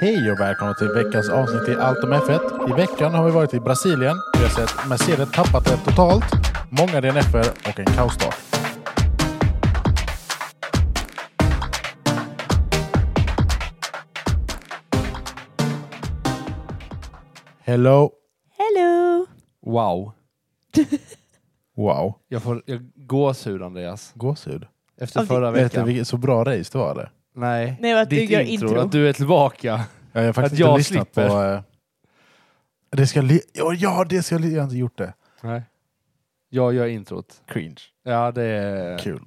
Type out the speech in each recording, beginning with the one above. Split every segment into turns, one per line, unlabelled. Hej och välkomna till veckans avsnitt i Allt om F1. I veckan har vi varit i Brasilien. Vi har sett Mercedes tappat det totalt, många DNFer och en kaosstart. Hello.
Hello!
Wow.
Wow.
Jag får jag gåshud Andreas.
Gåshud.
Efter
Av
förra
Vet du
veckan.
vilket så bra race det var? Eller?
Nej.
Nej, att du
Ditt
gör
intro,
intro.
Att du är tillbaka.
Ja, Jag har faktiskt
Att jag
inte lyssnat
slipper.
på... eh, det ska li- ja, ja, det ska li- jag har inte gjort det.
Nej. Jag gör introt.
Cringe.
Ja, det,
Kul.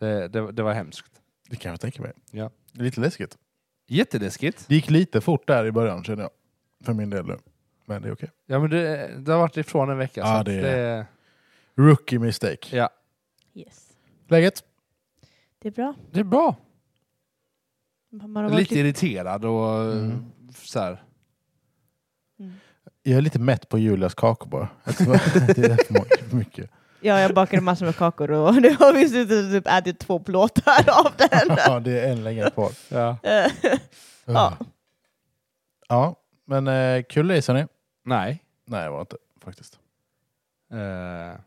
det, det, det var hemskt.
Det kan jag tänka mig.
Ja.
Det är Lite läskigt.
Jätteläskigt.
Det gick lite fort där i början känner jag. För min del nu. Men det är okej.
Ja, men det, det har varit ifrån en vecka.
Ja,
så att
det-
det,
Rookie mistake.
ja.
Yes.
Läget?
Det är bra.
det är bra.
Man har
Lite,
varit lite...
irriterad och
Mm.
så här.
Mm.
Jag är lite mätt på Julias kakor bara. Jag tror att det är för mycket- för mycket.
Ja, jag bakade massor med kakor och nu har vi suttit och typ ätit två plåtar av den.
Ja, det är en längre kvar.
Ja.
Eh, Ja.
Ja, men eh, kul race hörni.
Nej.
Nej, det var inte faktiskt.
Eh.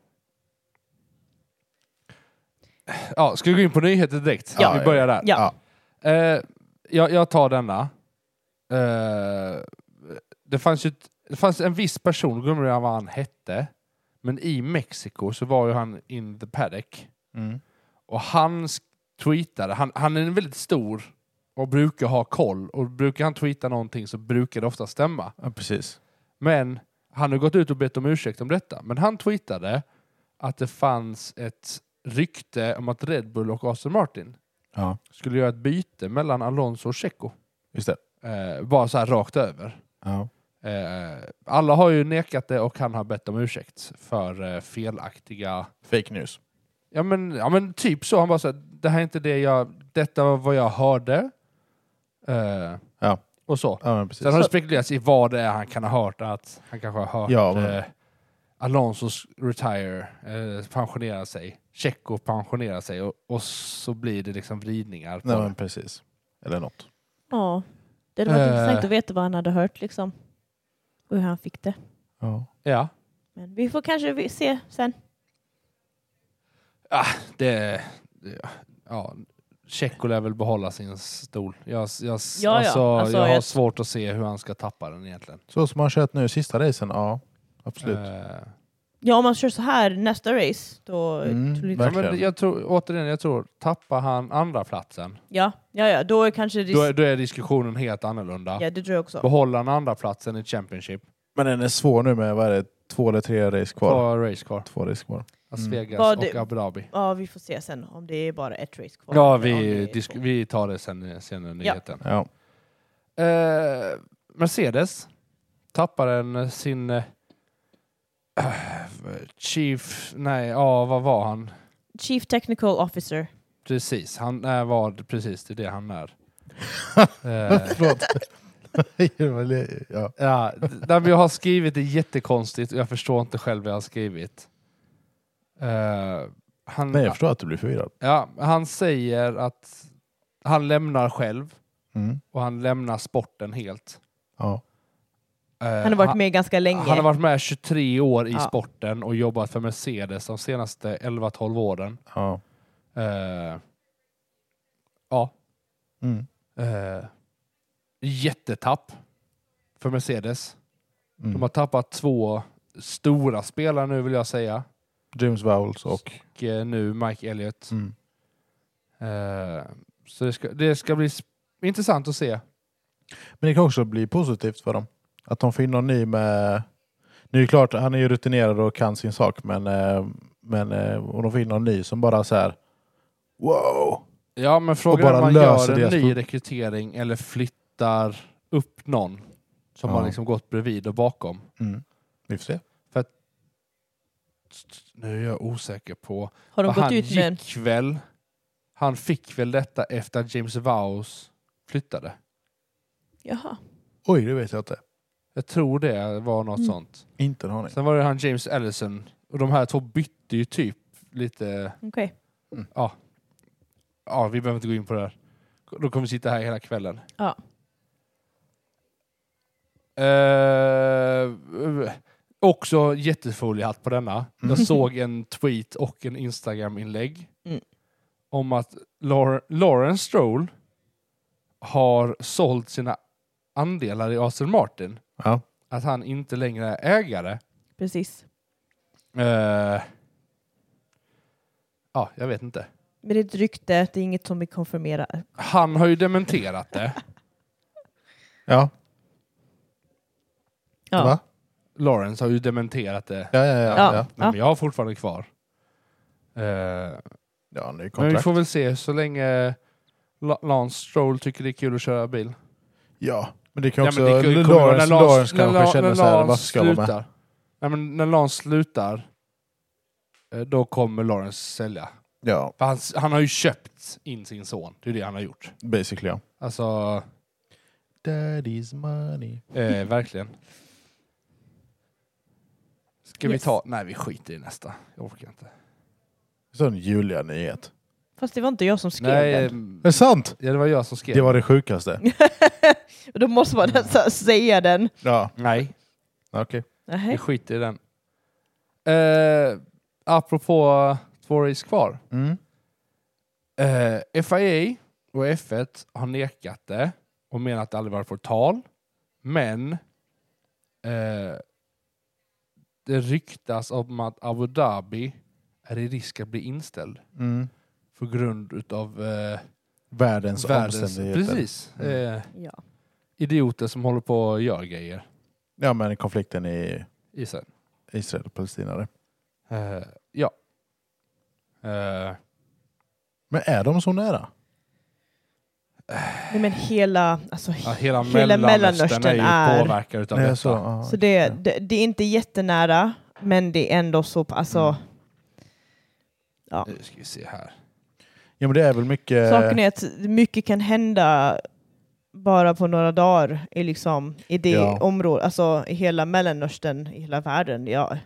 Ja, ska vi gå in på nyheter direkt?
Ja.
vi börjar där.
ja.
Eh, jag, jag tar denna. Eh, det, fanns ju ett, det fanns en viss person, jag glömmer jag vad han hette, men i Mexiko så var ju han in the paddock.
Mm.
Och han sk- tweetade, han, han är en väldigt stor och brukar ha koll och brukar han tweeta någonting så brukar det ofta stämma.
Ja, precis.
Men han har gått ut och bett om ursäkt om detta. Men han tweetade att det fanns ett rykte om att Red Bull och Aston Martin
Ja,
skulle göra ett byte mellan Alonso och Checo.
just det.
Eh, bara så här rakt över.
Ja.
Eh, alla har ju nekat det och han har bett om ursäkt för eh, felaktiga...
Fake news.
Ja men, ja men typ så. Han bara så här, det här är inte det jag... Detta var vad jag hörde. Eh,
Ja.
Och så.
Ja, men precis.
Sen har det spekulerats i vad det är han kan ha hört. Att han kanske har hört
Ja, men-
eh, Alonsos retire, eh, pensionera sig. Checo pensionera sig. Och, och så blir det liksom vridningar. På
Nej,
det.
men precis. Eller något.
Ja. Det hade varit
Eh.
intressant att veta vad han hade hört liksom. Och hur han fick det.
Ja.
Ja.
Men vi får kanske vi- se sen.
det... det- Ja, Tjecko lär väl behålla sin stol. Jag, jag,
ja.
alltså,
Alltså,
jag har
jag-
svårt att se hur han ska tappa den egentligen.
Så som man kört nu sista racen, ja. Absolut.
Eh,
Ja, om man kör så här nästa race då... liksom-
Mm,
tror jag-
ja,
verkligen.
men jag tror, återigen, jag tror, tappar han andra platsen
Ja, ja, ja, då är kanske... Risk...
då är, då är diskussionen helt annorlunda.
Ja, det tror jag också.
Behåller han andra platsen i Championship,
Men den är svår nu med, vad är det, två eller tre race kvar?
ta race kvar.
Två race kvar.
Las
Mm.
Vegas
Vad
och
det-
Abu Dhabi.
Ja, vi får se sen om det är bara ett race kvar. eller
Ja,
om det
vi,
är
disk-
två.
vi tar det sen, sen i nyheten.
Ja.
Eh, Mercedes tappar en eh, sin eh, chief, nej, ja vad var han?
Chief Technical Officer.
Precis, han är vad precis det är det han är. eh,
Förlåt. ja.
ja, d- nej, men jag har skrivit det jättekonstigt och jag förstår inte själv vad jag har skrivit. Eh, han,
Nej, jag förstår att du blir förvirrad.
ja, han säger att han lämnar själv
Mm.
och han lämnar sporten helt.
Ja.
Eh,
Han har varit med ganska länge.
Han har varit med 23 år i
Ja.
sporten och jobbat för Mercedes de senaste 11-12 åren.
ja.
Eh, ja.
Mm.
eh, jättetapp för Mercedes. De
Mm.
har tappat två stora spelare nu vill jag säga.
James Vowles och...
Och eh, nu Mike Elliott.
Mm.
Eh, så det ska, det ska bli s- intressant att se.
Men det kan också bli positivt för dem. Att de får in någon ny med... Nu är det klart, han är ju rutinerad och kan sin sak, men, eh, men eh, om de får in någon ny som bara så här... Wow!
Ja men frågan
bara
är om man
löser
gör en
deras
ny
pro-
rekrytering eller flyttar upp någon som
Ja.
har liksom gått bredvid och bakom.
Mm. Vi får se.
Nu är jag osäker på.
Har de
För
gått
han
ut med en...
gick väl. Han fick väl detta efter att James Vowles flyttade.
Jaha.
Oj, det vet jag inte.
Jag tror det var något
Mm.
sånt.
Inte en aning.
Sen var det han James Ellison och de här två bytte ju typ lite.
Okej.
Ja, vi behöver inte gå in på det här. Då kommer vi sitta här hela kvällen.
Ja.
Eh, också jättefoliehatt på denna. Jag såg en tweet och en Instagram-inlägg
Mm.
om att Laur- Lauren Stroll har sålt sina andelar i Aston Martin.
Ja.
Att han inte längre är ägare.
Precis.
Eh, ja, jag vet inte.
Men det är ett rykte, det är inget som vi konfirmerar.
Han har ju dementerat det,
Ja.
Ja.
Va?
Lawrence har ju dementerat det,
Ja, ja, ja.
Ja.
ja.
men jag har fortfarande kvar. Eh,
ja ny
men vi
kontrakt.
får väl se så länge La- Lance Stroll tycker det är kul att köra bil.
Ja, men det kan
Ja,
också...
men det kul- kommer
Lawrence,
när Lance-
Lawrence
när
kanske
La-
känner
när
så här,
Lance
varför ska jag vara med?
slutar. Nej, men när Lance slutar, eh, då kommer Lawrence sälja.
Ja,
För han, s- han har ju köpt in sin son, det är det han har gjort.
basically ja.
Alltså,
Daddy's money.
eh, verkligen. Ska vi
Yes.
ta... Nej, vi skiter i nästa. Jag orkar inte.
Sån Julia-nyhet.
Fast det var inte jag som skrev
Nej,
den.
ehm,
Är det sant?
ja, det var jag som skrev.
Det var det sjukaste. eh,
Då måste man nästan säga den.
Ja,
Nej,
okej.
vi
Nej.
skiter i den. Eh, apropå två race kvar.
Mm.
Eh, FIA och F1 har nekat det och menat att det aldrig varit på tal. Men eh, det ryktas om att Abu Dhabi är i risk att bli inställd
Mm.
på grund utav eh,
Världens,
världens...
omständigheter.
Precis.
Mm.
Eh,
Ja.
idioter som håller på och gör grejer
Ja, men konflikten i
i sig.
Israel och Palestina. det.
Eh, ja. Eh,
Men är de så nära?
Nej, men hela, alltså,
Ah,
ja, hela,
Hela
Mellanöstern är ju
Mellanöstern är-
påverkad utav detta.
så, ja,
så det, det, det är inte jättenära, men det är ändå så... Alltså,
Mm.
Nu ska vi se här.
Ja, men det är väl mycket...
Saken är att mycket kan hända bara på några dagar i, liksom, i det
Ja.
området, alltså i hela Mellanöstern, i hela världen. Ja,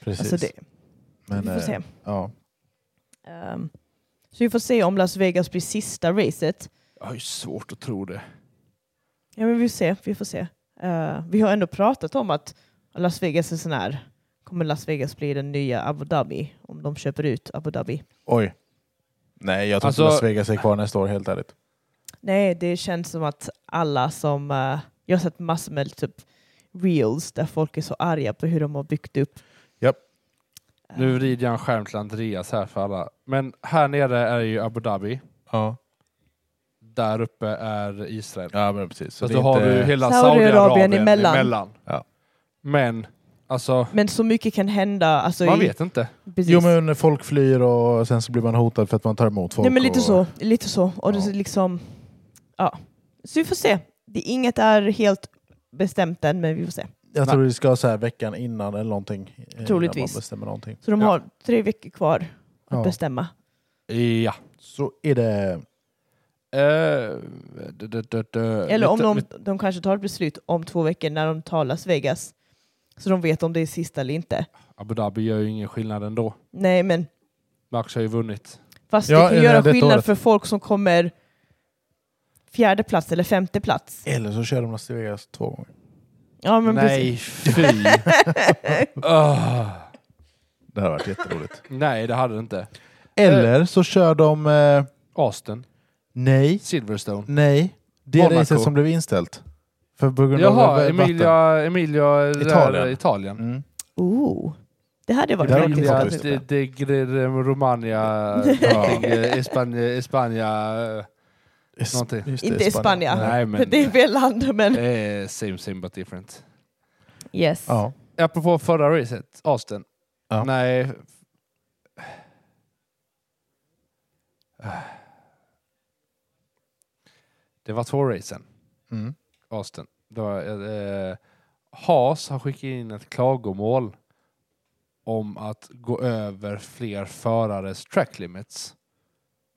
Precis.
alltså det,
men,
vi får
eh,
se.
Ja.
Ehm, så vi får se om Las Vegas blir sista racet.
Jag har ju svårt att tro det.
Ja, men vi får se. Vi, får se. Eh, vi har ändå pratat om att Las Vegas är sån här, kommer Las Vegas bli den nya Abu Dhabi om de köper ut Abu Dhabi?
Oj. Nej, jag tror
Alltså-
inte Las Vegas är kvar nästa år, helt ärligt.
Nej, det känns som att alla som... eh, jag har sett massor med typ reels där folk är så arga på hur de har byggt upp.
Japp.
Eh,
Nu vrider jag en skärm till Andreas här för alla. Men här nere är ju Abu Dhabi.
Ja,
Där uppe är Israel.
ja men precis.
Så,
det
då
är
Alltså, har
inte-
du hela
Saudiarabien
Saudiarabien emellan.
emellan.
Ja.
Men, alltså,
Men så mycket kan hända. Alltså,
man
i-
vet inte.
Precis.
Jo men folk flyr och sen så blir man hotad för att man tar emot folk.
Nej, men lite
och...
så. Lite så. Och det
Ja.
är liksom... Ja. Så vi får se. Det, inget är helt bestämt än, men vi får se.
Jag tror vi ska ha så här veckan innan eller någonting. eh, innan
Troligtvis.
Man bestämmer någonting.
Så de
Ja.
har tre veckor kvar att
Ja.
bestämma.
Ja.
Så är det.
Eh, d- d- d- d-
Eller om
lite-
de, de kanske tar ett beslut om två veckor när de tar Las Vegas. Så de vet om det är sista eller inte.
Abu Dhabi gör ju ingen skillnad ändå.
Nej, men
Max har ju vunnit.
Fast
Ja,
det kan
eh,
göra
detta
skillnad
året.
för folk som kommer fjärde plats eller femte plats.
Eller så kör de Las Vegas två gånger.
Ja, men precis.
Nej, fy! Ah.
Det hade varit jätteroligt.
nej, det hade det inte.
Eller så kör de... Eh,
Austin,
nej,
Silverstone.
nej. Det
Monaco.
racet som blev inställt. För på grund av
Jaha,
eh, vatten.
Emilia, Emilia Italien.
Italien.
Där, Italien.
Mm.
Oh, det hade varit
Det hade
någonting
varit
som-
faktiskt.
de, de, Romania, eh, Spanien, Spanien,
Es-
Någonting.
just det,
Inte i Spanien.
Nej.
Nej, men-
Det är fel land, men
eh, same same but different.
yes.
Ja.
Apropå förra racet, Austin.
Ja.
Nej. Det var två racen,
Mm.
Austin. Det var, eh, Haas har skickat in ett klagomål om att gå över fler förares track limits.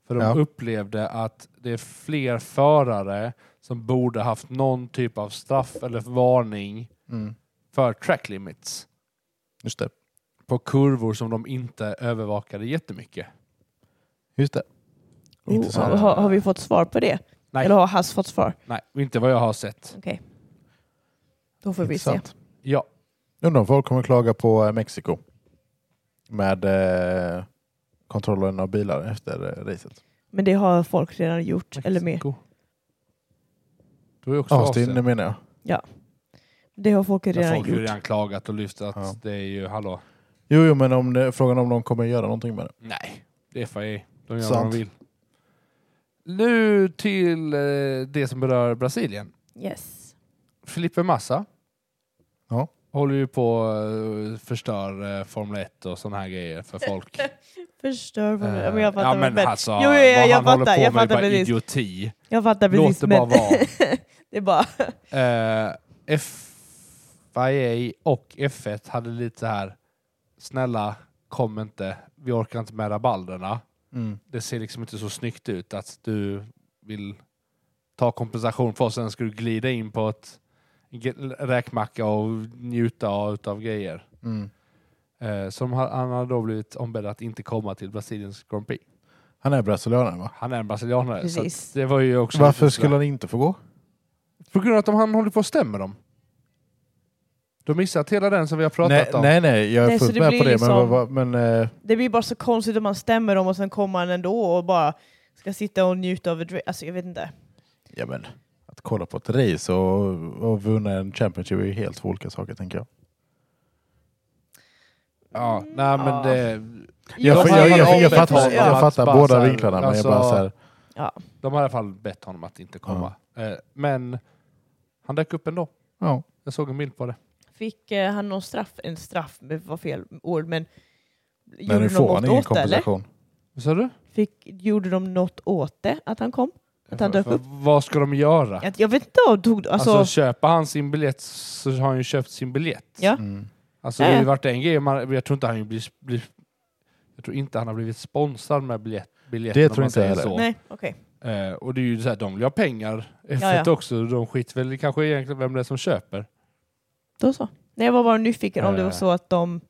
För de
Ja.
upplevde att det är fler förare som borde haft någon typ av straff eller varning
Mm.
för track limits
Just det.
på kurvor som de inte övervakade jättemycket.
Just det.
Oh,
Inte så här.
har, har vi fått svar på det?
Nej.
Eller har Hass fått svar?
Nej, inte vad jag har sett.
Okej. Då får vi se.
Intressant.
Ja,
Undrar om folk kommer klaga på eh, Mexiko med eh, kontrollen av bilar efter eh, racet.
Men det har folk redan gjort, eller med.
Mexiko. Du är också Asien.
Austin menar jag.
Det har folk
Men
redan
folk har
gjort.
ju redan klagat och lyft att
Ja.
det är ju, hallå,
Jo, jo men om det, frågan om de kommer göra någonting med det.
nej, det är FAE. De gör vad
Sant.
de vill. Nu till eh, det som berör Brasilien.
Yes.
Felipe Massa
Ja.
håller ju på att förstör eh, Formel 1 och sådana här grejer för folk.
Förstör vad
Eh,
du... Ja, men jag fattar.
ja,
vad du
men
menar.
alltså,
Jo, jo,
vad
jag
han håller
fattar,
på
jag
med är
fattar
bara
precis.
idioti.
jag fattar
Låt
precis.
det bara
Men
vara.
det är bara...
Eh, FIA och F1 hade lite så här, snälla kom inte, vi orkar inte med rabalderna.
Mm.
Det ser liksom inte så snyggt ut att du vill ta kompensation för oss, sen ska du glida in på ett ge- räkmacka och njuta av grejer.
Mm.
Eh, som ha- han har då blivit ombedd att inte komma till Brasiliens Grand Prix.
Han är brasilianare va?
Han är en brasilianare. Så
Precis.
att det var ju också
Varför
lite
skulle
sådär.
han inte få gå?
På grund av att de, han håller på att stämma dem. Du har missat hela den som vi har pratat
Nej,
om.
nej, nej, jag
Nej,
är
så
fullt
det
med på
blir
det.
liksom-
Men, vad- vad- men eh,
Det blir bara så konstigt om man stämmer dem och sen kommer han ändå och bara ska sitta och njuta av ett dra- Alltså jag vet inte.
ja, men, att kolla på ett race och, och vinna en Championship är ju helt två olika saker tänker jag.
Ja, nej men
Ja.
det,
Jag,
De
jag,
har
jag, jag, jag,
ombett
Alltså,
fattar,
honom
jag
att
fattar
bara så
båda
här,
vinklarna men jag
alltså-
bara så här,
de har i alla fall bett honom att inte komma. Eh, men han dök upp ändå.
ja.
Jag såg en bild på det.
Fick eh, han någon straff? En straff det var fel ord, men
Men nu
gjorde
får
de
han
något
ingen
åt det eller?
kompensation.
Vad sa du?
Fick, gjorde de något åt det, att han kom? Att han
För-
dök
för
upp?
Vad ska de göra?
Jag, jag vet inte om de tog... Alltså,
Alltså, köper han sin biljett så har han ju köpt sin biljett.
Ja.
Mm.
Alltså
Ja,
det har
ja.
ju varit en grej, man, jag tror inte han blir, blir jag tror inte han har blivit sponsrad med biljett, biljetten.
Det
om
tror
man
inte
säger
jag
så.
nej, okej.
Eh, och det är ju så här, de vill ha pengar F1
Ja, ja.
också, de skiter väl i kanske egentligen vem det är som köper.
Då så. Nej, jag var bara nyfiken om det var
Eh.
så att de...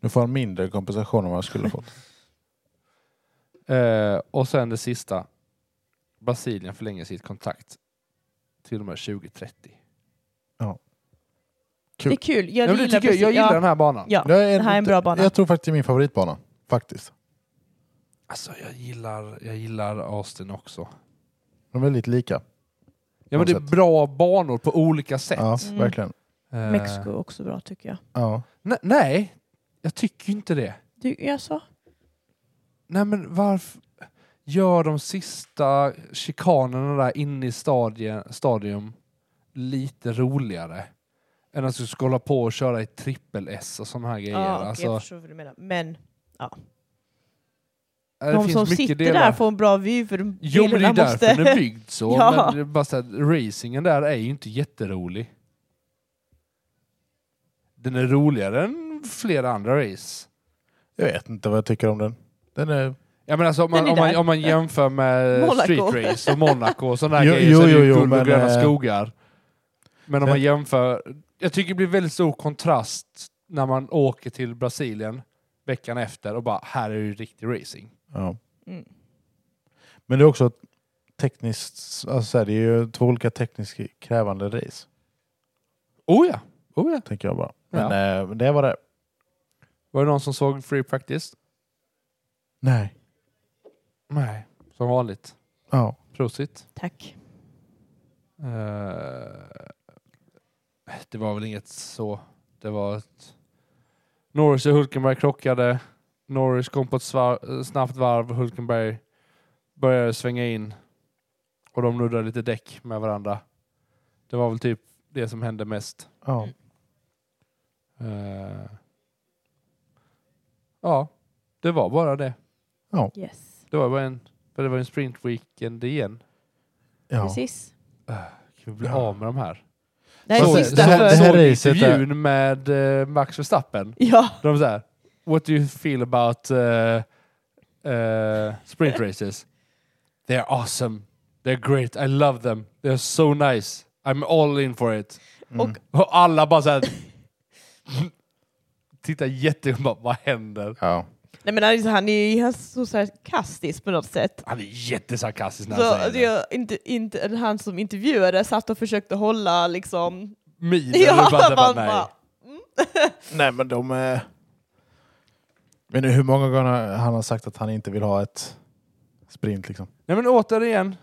Nu får han mindre kompensation än vad han skulle ha fått.
Eh, och sen det sista, Brasilien förlänger sitt kontrakt till och med 2030.
Det är kul. Jag,
Jag,
gillar,
jag, tycker, jag,
precis-
jag gillar
ja,
den här banan.
ja.
Jag
Det här är en bra bana.
Jag tror faktiskt det är min favoritbana. Faktiskt.
Alltså jag gillar, jag gillar Austin också.
De är väldigt lika.
Ja men det är
På något
bra banor på olika sätt.
Ja,
Mm.
verkligen.
Eh,
Mexiko är också bra tycker jag.
Ja.
Ne- nej, jag tycker ju inte det.
Du, jag sa?
Nej men varför gör de sista chikanerna där inne i stadie, stadium lite roligare? Än att du ska hålla på och köra i trippel-S och sådana här grejer.
Ja, Ah, okej,
alltså,
jag förstår vad du menar. Men
eh, det
de
finns
som
mycket
sitter
delar.
där får en bra vy för de
Jo men det är
bilarna
därför den är byggd så.
Ja.
Men det är bara så här, racingen där är ju inte jätterolig. Den är roligare än flera andra race.
Jag vet inte vad jag tycker om den. Den är...
Ja, men alltså, om, man,
Den är
om, man,
där.
om man jämför med
Monaco.
street race och Monaco och sådana
Jo,
grejer så är det
jo,
ju
jo,
guld och
men,
gröna
eh,
skogar. Men om man
men-
jämför... Jag tycker det blir väldigt stor kontrast när man åker till Brasilien veckan efter och bara här är ju riktig racing.
Ja.
Mm.
Men det är också ett tekniskt... Alltså så här, det är ju två olika tekniskt krävande race.
Oh ja! Oh ja.
Tänker jag bara. Men eh, men det var det.
Var det någon som såg Free Practice?
Nej.
Nej. Som vanligt.
Ja.
Prosit.
Tack.
Eh, det var väl inget så. Det var ett... Norris och Hulkenberg krockade. Norris kom på ett svar- snabbt varv. Hulkenberg började svänga in. Och de nuddade lite däck med varandra. Det var väl typ det som hände mest.
ja.
Eh, ja, det var bara det.
Yes.
Det var bara en, för det var en sprintweekend igen.
ja.
Precis.
Kan vi bli
Ja.
av med de här?
Det här
Så-
är
det
sista
här-
för...
det här-
såg
racet är-
intervjun med eh, Max Verstappen.
Ja,
De så här, what do you feel about eh, eh, sprint races? They're awesome. They're great. I love them. They're so nice. I'm all in for it.
Mm.
Och alla bara så här... Titta jätte... bara, Vad händer?
Ja.
Nej, men alltså, han är ju han är så sarkastisk på något sätt.
Han är jättesarkastisk när han
Så
säger
att
det.
alltså jag, inte, inte, eller han som intervjuade satt och försökte hålla liksom...
Minen, ja, bara, bara,
man
nej.
bara,
Nej men de... Eh... Men hur många gånger han har sagt att han inte vill ha ett sprint liksom.
nej men återigen,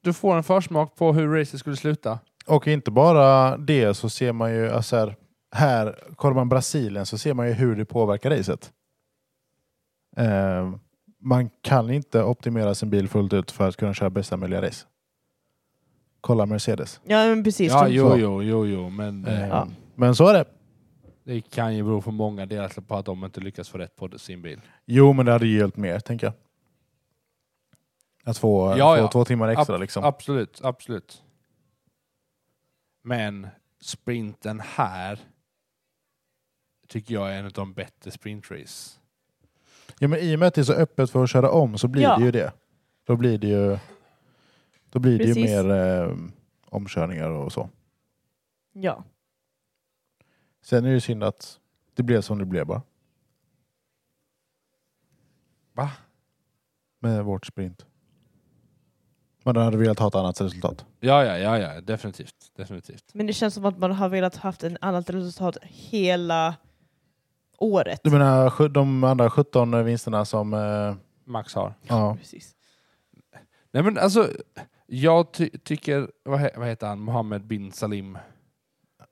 du får en försmak på hur racet skulle sluta.
Och inte bara det så ser man ju, alltså här, här kollar man Brasilien så ser man ju hur det påverkar racet. Eh, man kan inte optimera sin bil fullt ut för att kunna köra bästa möjliga race. Kolla Mercedes.
Ja men precis.
Ja,
de-
jo, jo, jo, jo, men eh,
Eh,
Ja.
Men så är det.
det kan ju bero på många delar på att de inte lyckas få rätt på sin bil.
Jo, men det hade ju hjälpt mer, tänker jag. Att få,
Ja,
få
ja.
två timmar extra liksom.
Absolut, absolut. Men sprinten här tycker jag är en av de bättre sprintrace.
Ja, men I och med att det är så öppet för att köra om så blir
Ja.
det ju det. Då blir det ju, då blir det ju
Precis.
mer eh, omkörningar och så.
Ja.
Sen är det ju synd att det blev som det blev bara.
Va?
Med vårt sprint. Men då hade vi velat ha ett annat resultat.
Ja, ja, ja, ja, definitivt. definitivt.
Men det känns som att man har velat haft en annat resultat hela året.
Du menar sju- de andra 17 vinsterna som... Eh,
Max har.
ja.
Precis.
Nej men alltså, jag ty tycker, vad, he vad heter han, Mohammed bin Salim,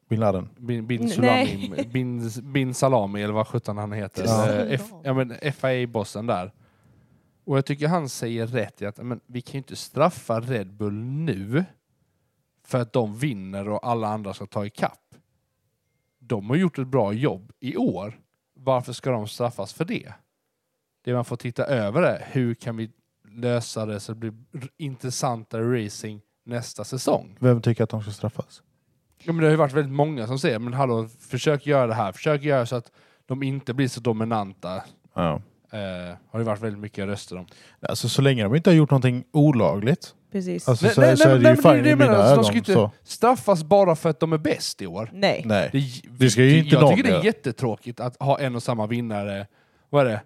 Bin Laden.
bin, bin,
Nej.
Sulaim, bin, bin Salami eller vad sjutton han heter.
Ja.
Eh, F, ja, men FIA-bossen där. Och jag tycker han säger rätt i att men, vi kan ju inte straffa Red Bull nu för att de vinner och alla andra ska ta ikapp. De har gjort ett bra jobb i år. Varför ska de straffas för det? Det man får titta över är hur kan vi lösa det så det blir r- intressantare racing nästa säsong?
Vem tycker att de ska straffas?
Ja, men det har ju varit väldigt många som säger men hallå, försök göra det här. Försök göra så att de inte blir så dominanta.
Ja.
Eh, har det varit väldigt mycket röster om.
Alltså så länge de inte har gjort någonting olagligt.
Precis.
Alltså,
Nej,
så,
nej,
så
nej,
är det
nej,
ju
men det är
fine
det
i
jag
mina
menar. Alltså, de
ögon.
ska ju inte-
så.
Straffas bara för att de är bäst i år.
Nej.
Nej.
Det,
Det ska ju inte
jag
någon
tycker det är
göra.
jättetråkigt att ha en och samma vinnare. Vad är det?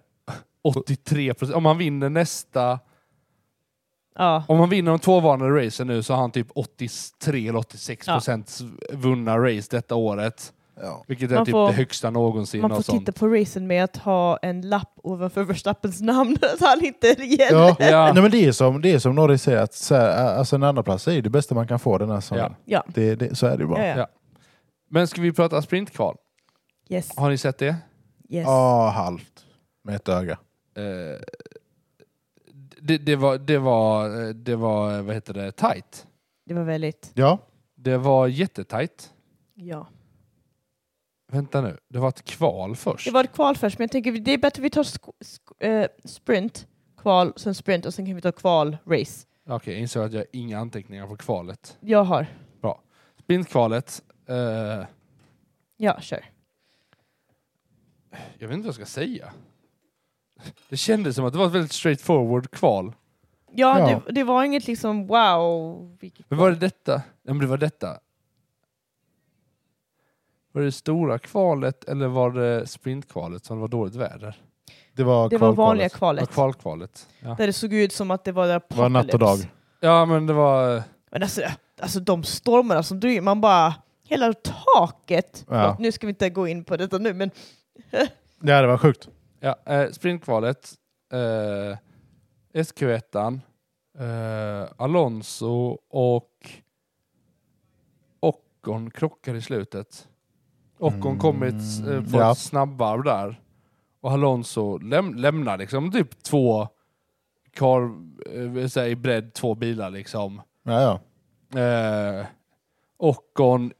83 procent. Om han vinner nästa...
Ja.
Om han vinner de två vanliga racen nu så har han typ 83 eller 86 procent vunna race detta året.
Ja.
Vilket är
Man
typ
får-
det högsta någonsin.
Man
och
får
sånt.
titta på racen med att ha en lapp ovanför Verstappens namn så han inte igen.
Ja.
Ja.
Nej, men det, är som, det är som Norris säger, att så här, alltså en andra plats är ju det bästa man kan få den här säsongen.
Ja.
Det, det, så är det ju bara.
Ja,
Ja,
ja.
Ja. Men ska vi prata sprintkval?
Yes.
Har ni sett det?
yes.
halvt. Med ett öga.
Eh, det, det var, det var, eh, det var, eh, vad heter det, tight.
Det var väldigt...
Ja.
Det var jättetight.
Ja.
Vänta nu, det var ett kval först.
Det var ett kval först, men jag tänker det är bättre att vi tar sk- sk- eh, sprint, kval, sen sprint och sen kan vi ta kval, race.
Okej, jag insåg att jag har inga anteckningar på kvalet.
Jag har.
Sprintkvalet, eh, jag
Ja, kör.
vet inte vad jag ska säga. Det kändes som att det var ett väldigt straightforward kval.
Ja,
Ja.
Det, det var inget liksom wow. vilket
Men var det
kval.
detta? Ja, men det var detta. Var det det stora kvalet eller var det sprintkvalet som var dåligt väder?
Det var,
Det var vanliga
kvalkvalet.
Ja,
kvalet.
kvalkvalet. Ja.
Där det såg ut som att det var
Det var natt och dag.
ja, men det var... eh,
Men alltså, alltså de stormarna som du... Man bara... Hela taket.
Ja.
Förlåt, Nu ska vi inte gå in på detta nu, men
Ja, det var sjukt.
Ja, eh, sprintkvalet. Eh, SQ1. Eh, Alonso och Ockon krockar i slutet. Ockon
Mm,
kom i ett, s- eh, på
ja.
ett snabbvarv där. Och Alonso läm lämnar liksom typ två kar, eh, vill säga i bredd, två bilar liksom.
Ja, ja.
Eh, Ockon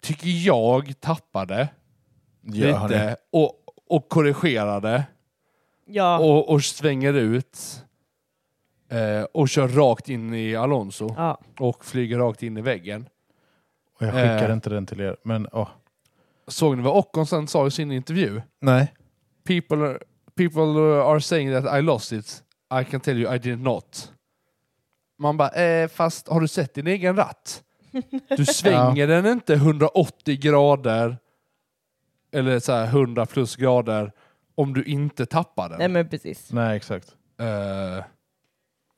tycker jag tappade
Ja, hörni.
lite och, och korrigerade
ja.
och, och svänger ut eh, och kör rakt in i Alonso
ja.
och flyger rakt in i väggen.
Och jag skickar
Eh.
inte den till er. Men, åh.
Såg ni vad Ockon sen sa i sin intervju?
Nej.
People are, people are saying that I lost it. I can tell you I did not. Man bara, eh, fast har du sett din egen ratt? Du svänger den inte 180 grader eller så här 100 plus grader Om du inte tappar den.
Nej men precis.
Nej, exakt.
Eh,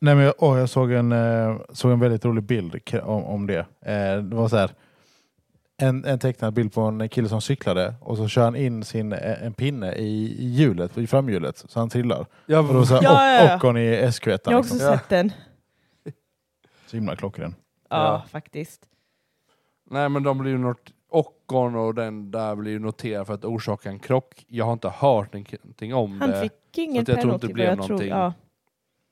Nej, men jag, åh, jag såg, en, eh, såg en väldigt rolig bild k- om, om det. Eh, det var så här, en, en tecknad bild på en kille som cyklade och så kör han in sin, eh, en pinne i i hjulet, i framhjulet, så han trillar.
jag,
Och då så här,
Ja, ja, ja.
och, Ockon i SQ1.
Jag har också
Liksom.
Ja.
sett den.
Så himla klockren.
Ja,
Ja.
faktiskt.
Nej men de blir ju not- Ockon och den där blir ju noterad för att orsaka en krock. Jag har inte hört någonting om
Han
det.
fick ingen
Så att jag tror inte
penalty.
det
men
blev
jag tror,
någonting.
ja.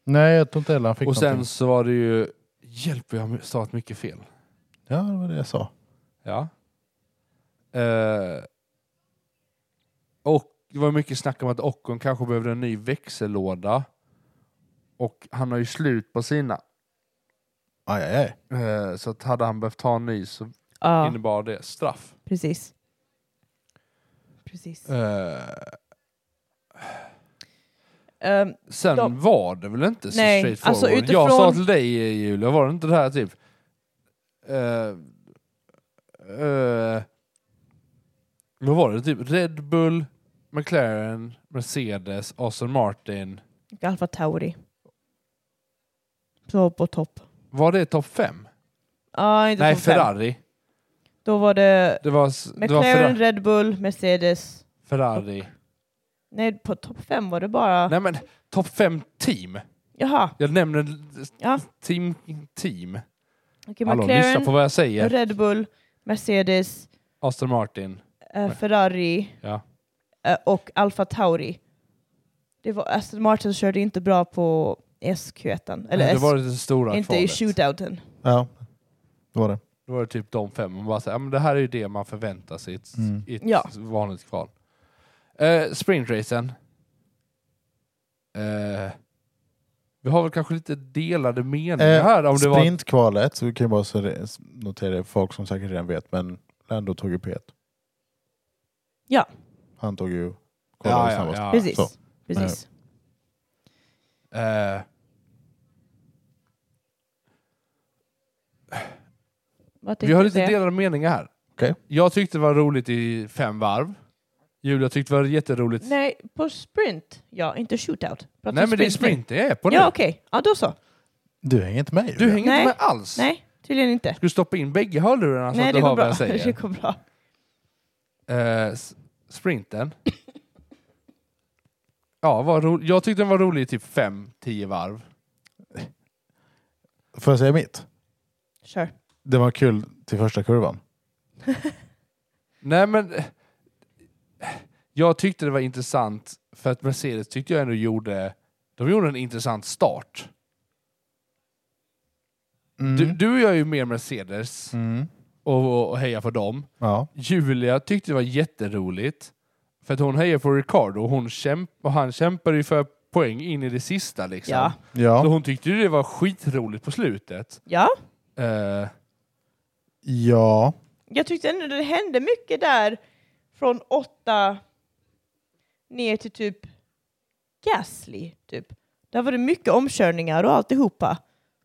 Nej, jag tror inte heller han fick
och sen
någonting.
så var det ju... Hjälp, jag har stavat mycket fel.
Ja, det var det jag sa.
Ja. Eh, och det var mycket snack om att Ockon kanske behövde en ny växellåda. Och han har ju slut på sina.
Aj, aj, aj.
Eh, så att hade han behövt ta en ny så
ja,
innebar det straff.
precis. Precis.
Eh,
Ehm,
Sen
De-
var det väl inte så
Nej,
straightforward.
alltså utifrån-
Jag sa till dig eh, Julia, var det inte det här typ... eh, eh, vad var det? Typ Red Bull, McLaren, Mercedes, Aston Martin.
Och Alfa Tauri. Så på topp.
Var det topp fem?
Ja, inte
Nej,
topp fem.
Ferrari.
Då var det
Det var, s- det var
McLaren,
Ferra-
Red Bull, Mercedes.
Ferrari.
Nej, på topp fem var det bara...
Nej men, topp fem team.
Jaha,
Jag nämner
Ja.
team. team.
okej.
Hallå, lyssna
McLaren,
på vad jag säger.
Red Bull, Mercedes,
Aston Martin.
eh,
Nej.
Ferrari
Ja.
eh, och Alfa Tauri. Det var Aston Martin körde inte bra på SQ1. Eller
det
S,
var det stora
inte i
kvalet.
shootouten.
Ja, det var det.
Då var det typ de fem. Man bara så här, ja, men det här är ju det man förväntar sig i ett,
Mm.
i ett
Ja.
vanligt kval. Eh, sprintracen. Eh, vi har väl kanske lite delade meningar
Eh,
här. Om det var,
Sprintkvalet, så vi kan ju bara så det- notera det, folk som säkert redan vet, men Lando tog ju P1.
Ja.
Han tog ju
ja,
kvalade
ja,
snabbast.
ja.
Precis.
så.
Precis.
Eh,
Vad
vi
tänkte
har
du
lite
säga?
delade meningar här.
Okej.
Jag tyckte det var roligt i fem varv. Julia tyckte det var jätteroligt.
Nej, på sprint. Ja, inte shootout. Prata
Nej men det är
nu.
sprint det är på nu.
Ja, okej. Ja, då så.
Du hänger inte med
Du
Julia.
hänger inte
Nej.
med alls.
Nej, tydligen inte.
Ska du stoppa in bägge hörlurarna så
Nej,
att
det
du
går
hör vad
bra.
jag säger?
Det går bra.
Eh, s- sprinten. Ja, var ro- jag tyckte den var rolig i typ 5-10 varv.
Får jag säga mitt?
Kör.
Det var kul till första kurvan.
Nej men... eh, Jag tyckte det var intressant för att Mercedes tyckte jag ändå gjorde... De gjorde en intressant start. Du, du och jag är ju mer Mercedes
Mm.
och, och, och hejar på dem.
Ja.
Julia tyckte det var jätteroligt för att hon hejar på Ricardo och, hon kämp- och han kämpade ju för poäng in i det sista liksom.
Ja.
Så
Ja.
hon tyckte ju det var skitroligt på slutet.
Ja,
Eh,
ja.
jag tyckte ändå det hände mycket där från åtta ner till typ Gasly, typ. Där var det mycket omkörningar och alltihopa,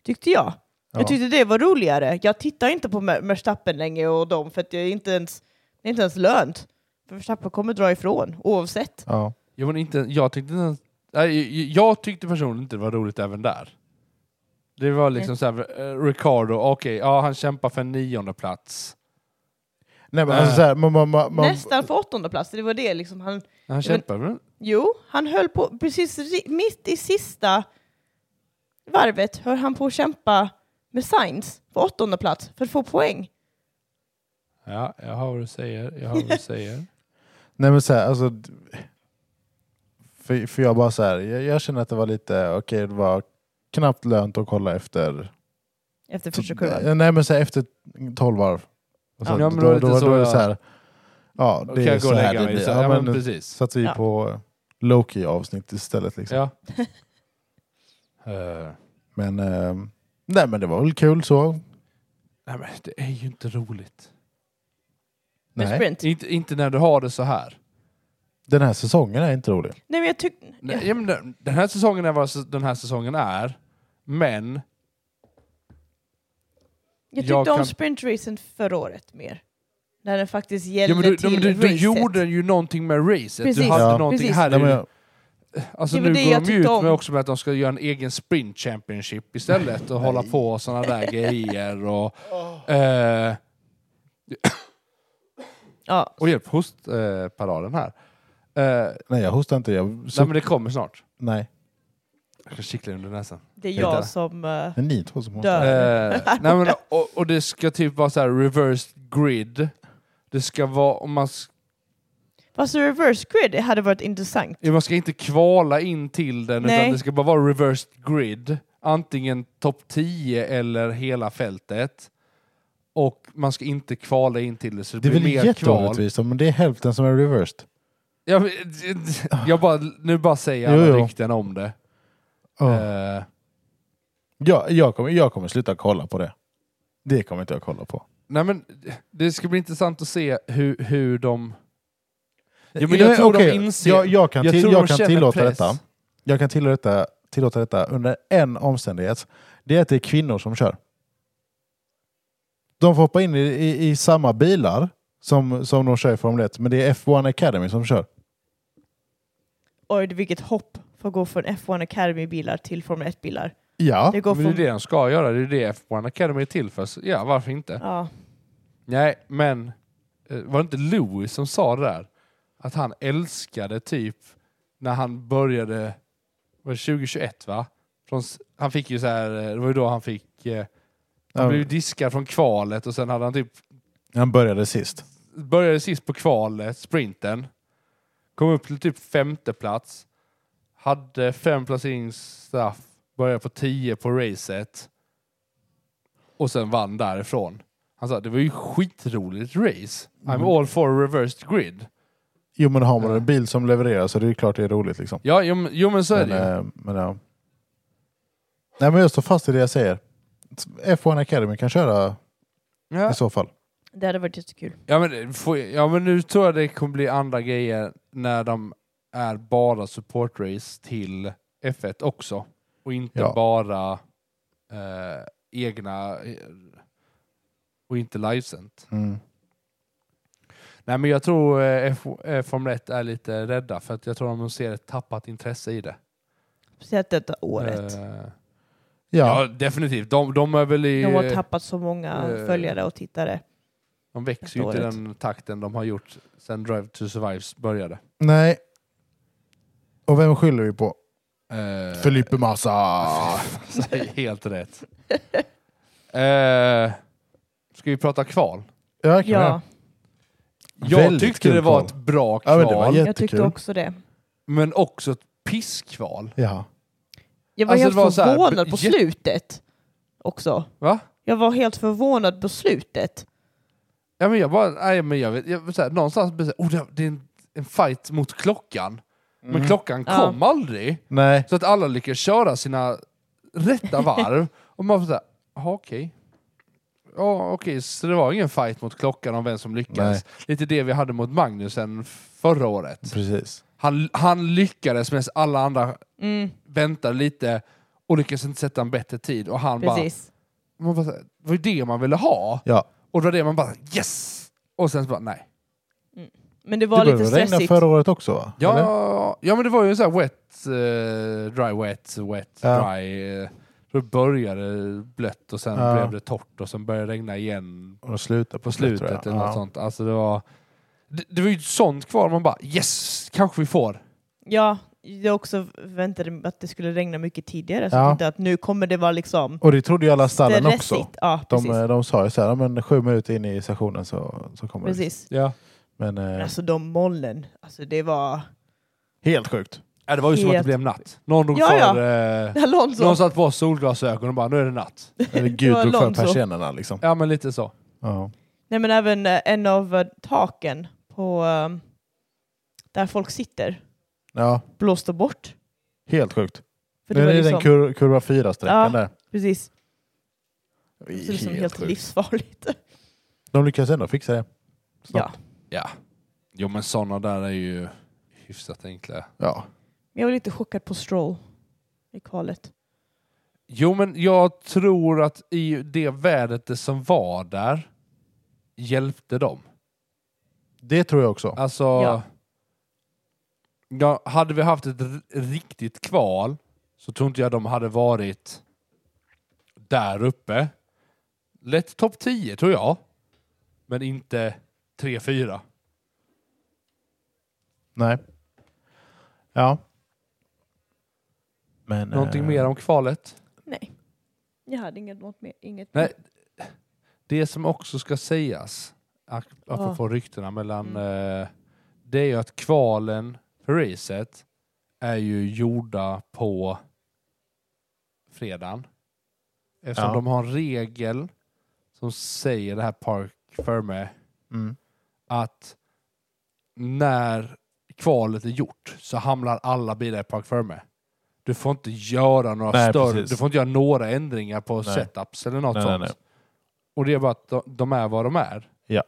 tyckte jag.
Ja.
Jag tyckte det var roligare. Jag tittar inte på Mer- Verstappen länge och dem för att jag inte ens, det är inte ens lönt. För Verstappen kommer dra ifrån, oavsett.
ja.
jag, men inte, jag, tyckte, inte ens- nej, jag- jag tyckte personligen inte det var roligt även där. Det var liksom såhär, eh, Ricardo, okej, ja han kämpar för en nionde plats.
Nej, men
Äh.
alltså, så här, man, man, man, man,
Nästan för åttonde plats, det var det liksom han
Han kämpar väl?
Jo, han höll på precis ri- mitt i sista varvet höll han på att kämpa med Sainz på åttonde plats för att få poäng.
Ja, jag hör vad du säger, jag hör vad du säger.
Nej men så här, alltså. d- För, för jag bara så här, jag, jag känner att det var lite, okej det var knappt lönt att kolla efter.
Efter första kurvan.
Nej men så här, efter 12 varv. Alltså, Och
Ja, men det var lite så
är det
jag-
så här, ja
Då
det
kan
är
jag gå
så
och
här
lägga
det
mig.
blir.
Så, ja, men,
men
precis.
satt vi
Ja.
på Loki avsnitt istället liksom.
Ja. Eh,
Men, eh, nej men det var väl kul så.
nej men det är ju inte roligt.
Med
Nej,
sprint.
Inte, inte när du har det så här.
den här säsongen är inte rolig.
Nej men jag tyckte...
Nej, ja. men den- den här säsongen är vad s- den här säsongen är, men
Jag tyckte
Jag
om
kan-
sprintracen förra året mer. När den faktiskt
Ja,
gällde
men du,
till
du, du, du
racet.
gjorde ju någonting med racet.
Precis,
Du hade
Ja.
någonting
precis.
här.
Nej,
är
men
ju-
jag,
Alltså
Det var
nu
det
går
jag
de
tyckte
ut
om.
med också med att de ska göra en egen sprint championship istället och hålla på och sådana där grejer. Och,
Oh.
eh,
Ja,
och hjälp hostparaden eh, paraden här. Eh,
nej, jag hostar inte. Jag,
nej
så,
men det kommer snart.
nej.
Jag ska kittla under näsan.
det är
Helt
jag
ärligt.
som... eh,
det är ni två som
Dö.
hostar.
Eh, nej, men, och, och det ska typ vara så här reverse grid. Det ska vara, om man, s-
Fast reverse grid det hade varit intressant.
man ska inte kvala in till den
Nej.
utan det ska bara vara reverse grid. Antingen topp 10 eller hela fältet. Och man ska inte kvala in till det så det,
Det är väl
blir mer kval.
jätteorättvist, men det är hälften som är reversed.
Jag, jag bara, nu bara säger alla
Jo, jo.
rykten om det.
Ja.
Eh,
Ja, jag, kommer, jag kommer sluta kolla på det. Det kommer inte jag kolla på.
nej men, det ska bli intressant att se hur, hur de... Jo, men
Ja,
jag tror
okej.
de inser...
Jag, jag kan,
jag
till,
tror
jag
de
kan
känner
tillåta
press.
detta. Jag kan tillåta, tillåta detta under en omständighet. Det är att det är kvinnor som kör. De får hoppa in i, i, i samma bilar som, som de kör i Formel 1, men det är F1 Academy som kör.
Oj, det- vilket hopp för att gå från F1 Academy-bilar till Formel 1-bilar.
Ja,
Det går
Men det är
från...
det de ska göra, det är det F1 Academy är till för. Så, ja, varför inte?
Ja.
Nej, men eh, var det inte Louis som sa det där? Att han älskade typ när han började, var det 2021 va? Från, s- han fick ju så här, eh, det var ju då han fick, eh, han
Ja.
blev ju diskad från kvalet och sen hade han typ
han började sist.
började sist på kvalet, sprinten. Kom upp till typ femte plats. Hade fem placeringsstraff. Började på tio på racet. Och sen vann därifrån. Han sa det var ju skitroligt race.
Mm.
I'm all for reversed grid.
Jo, men har man
Ja.
en bil som levererar så det är klart det är roligt. Liksom.
Ja, jo, men- jo men så är
Men,
det ju.
eh, men, ja. Nej, men jag står fast i det jag säger. F1 Academy kan köra
Ja.
i så fall.
Det hade varit jättekul.
Ja, men, det får- ja men nu tror jag det kommer bli andra grejer när de är bara supportrace till F1 också. Och inte
Ja.
bara eh, egna eh, och inte livesänt.
Mm.
Nej men jag tror eh, F- eh, Formel 1 är lite rädda för att jag tror de ser ett tappat intresse i det.
Speciellt detta året.
Eh,
Ja,
ja definitivt. De, de är väl i,
De har tappat så många
eh,
följare och tittare.
de växer ju inte i
året.
den takten de har gjort sedan Drive to Survives började.
nej. Och vem skyller vi på?
Eh,
Felipe Massa!
Det är Helt rätt. Eh, ska vi prata kval?
Ja, kan
Ja,
vi.
Jag
Väldigt
tyckte
kul
det var
kval.
ett bra
Ja,
kval,
men det var
men,
jättekul.
jag tyckte också det.
också ett pisskval.
Ja.
Jag var
Alltså, det var
helt
så här,
förvånad på
jä-
slutet också.
Va?
Jag var helt förvånad på slutet.
Ja, men jag bara, nej, men jag vet, jag, så här, någonstans blev det så här, oh, det- det är en, en fight mot klockan. Men klockan
Ja.
kom aldrig.
Mm. Nej.
Så att alla lyckades köra sina rätta varv. och man får såhär, jaha okej. Ja okej, så det var ingen fight mot klockan om vem som lyckades. Lite det vi hade mot Magnusen förra året.
Precis.
Han, han lyckades medan alla andra
Mm,
väntade lite och lyckades inte sätta en bättre tid. Och han
precis.
bara, man bara, så här, det var ju det man ville ha.
Ja.
Och det var det man bara, yes! Och sen så bara, nej.
Men det var
det
lite
började regna
stressigt.
förra året också va? Eller?
Ja, ja men det var ju så här wet, eh, dry wet, wet,
Ja.
dry. eh, så det började blött och sen
Ja.
blev det torrt och sen började det regna igen
Och slutet
på slutet eller något
ja.
sånt. Alltså det var... Det, det var ju ett sånt kvar man bara yes, kanske vi får.
Ja, jag också väntade mig att det skulle regna mycket tidigare. Så
Ja.
jag tänkte att nu kommer det vara liksom
Och det trodde ju alla stallen också.
Ja,
De,
precis.
eh, de sa ju så här, "Ja, men sju minuter in i sessionen så, så kommer
precis.
Ja.
det. Men eh,
Alltså de molnen, alltså det var...
helt sjukt.
ja det var ju som att det
Helt-
blev natt. Någon drog
Ja,
för... Eh,
Alonso!
någon satte på solglasögon och bara nu är det natt.
Eller
Det
gud
var
drog för
Alonso.
persiennerna liksom.
Ja men lite så.
Ja.
Nej men även eh, en av eh, taken på eh, där folk sitter
ja,
blåste bort.
helt sjukt.
För
det
det var
är
liksom,
den kur kurva 4-sträckan
Ja.
där.
precis, det är liksom helt
sjukt.
livsfarligt.
De lyckas ändå fixa det.
ja.
Snabbt.
Ja. Jo men sådana där är ju hyfsat enkla.
Ja.
Men jag var lite chockad på Stroll i kvalet.
Jo, men jag tror att i det vädret det som var där hjälpte dem.
Det tror jag också.
Alltså,
Ja.
ja. hade vi haft ett r- riktigt kval så tror inte jag de hade varit där uppe. Lätt topp 10 tror jag, men inte 3-4.
Nej. Ja. Men,
Någonting
eh,
mer om kvalet?
Nej. Jag hade inget, något mer, inget
Nej. Det som också ska sägas, ap- apropå ryktena mellan... Eh, det är ju att kvalen för racet är ju gjorda på fredagen. Eftersom
Ja.
de har en regel som säger det här Park Ferme
Mm.
att när kvalet är gjort så hamnar alla bilar i Park Ferme. Du får inte göra några
Nej,
större,
precis.
du får inte göra några ändringar på
Nej.
setups eller något
Nej, nej,
sånt.
nej.
Och det är bara att de, de är vad de är.
Ja.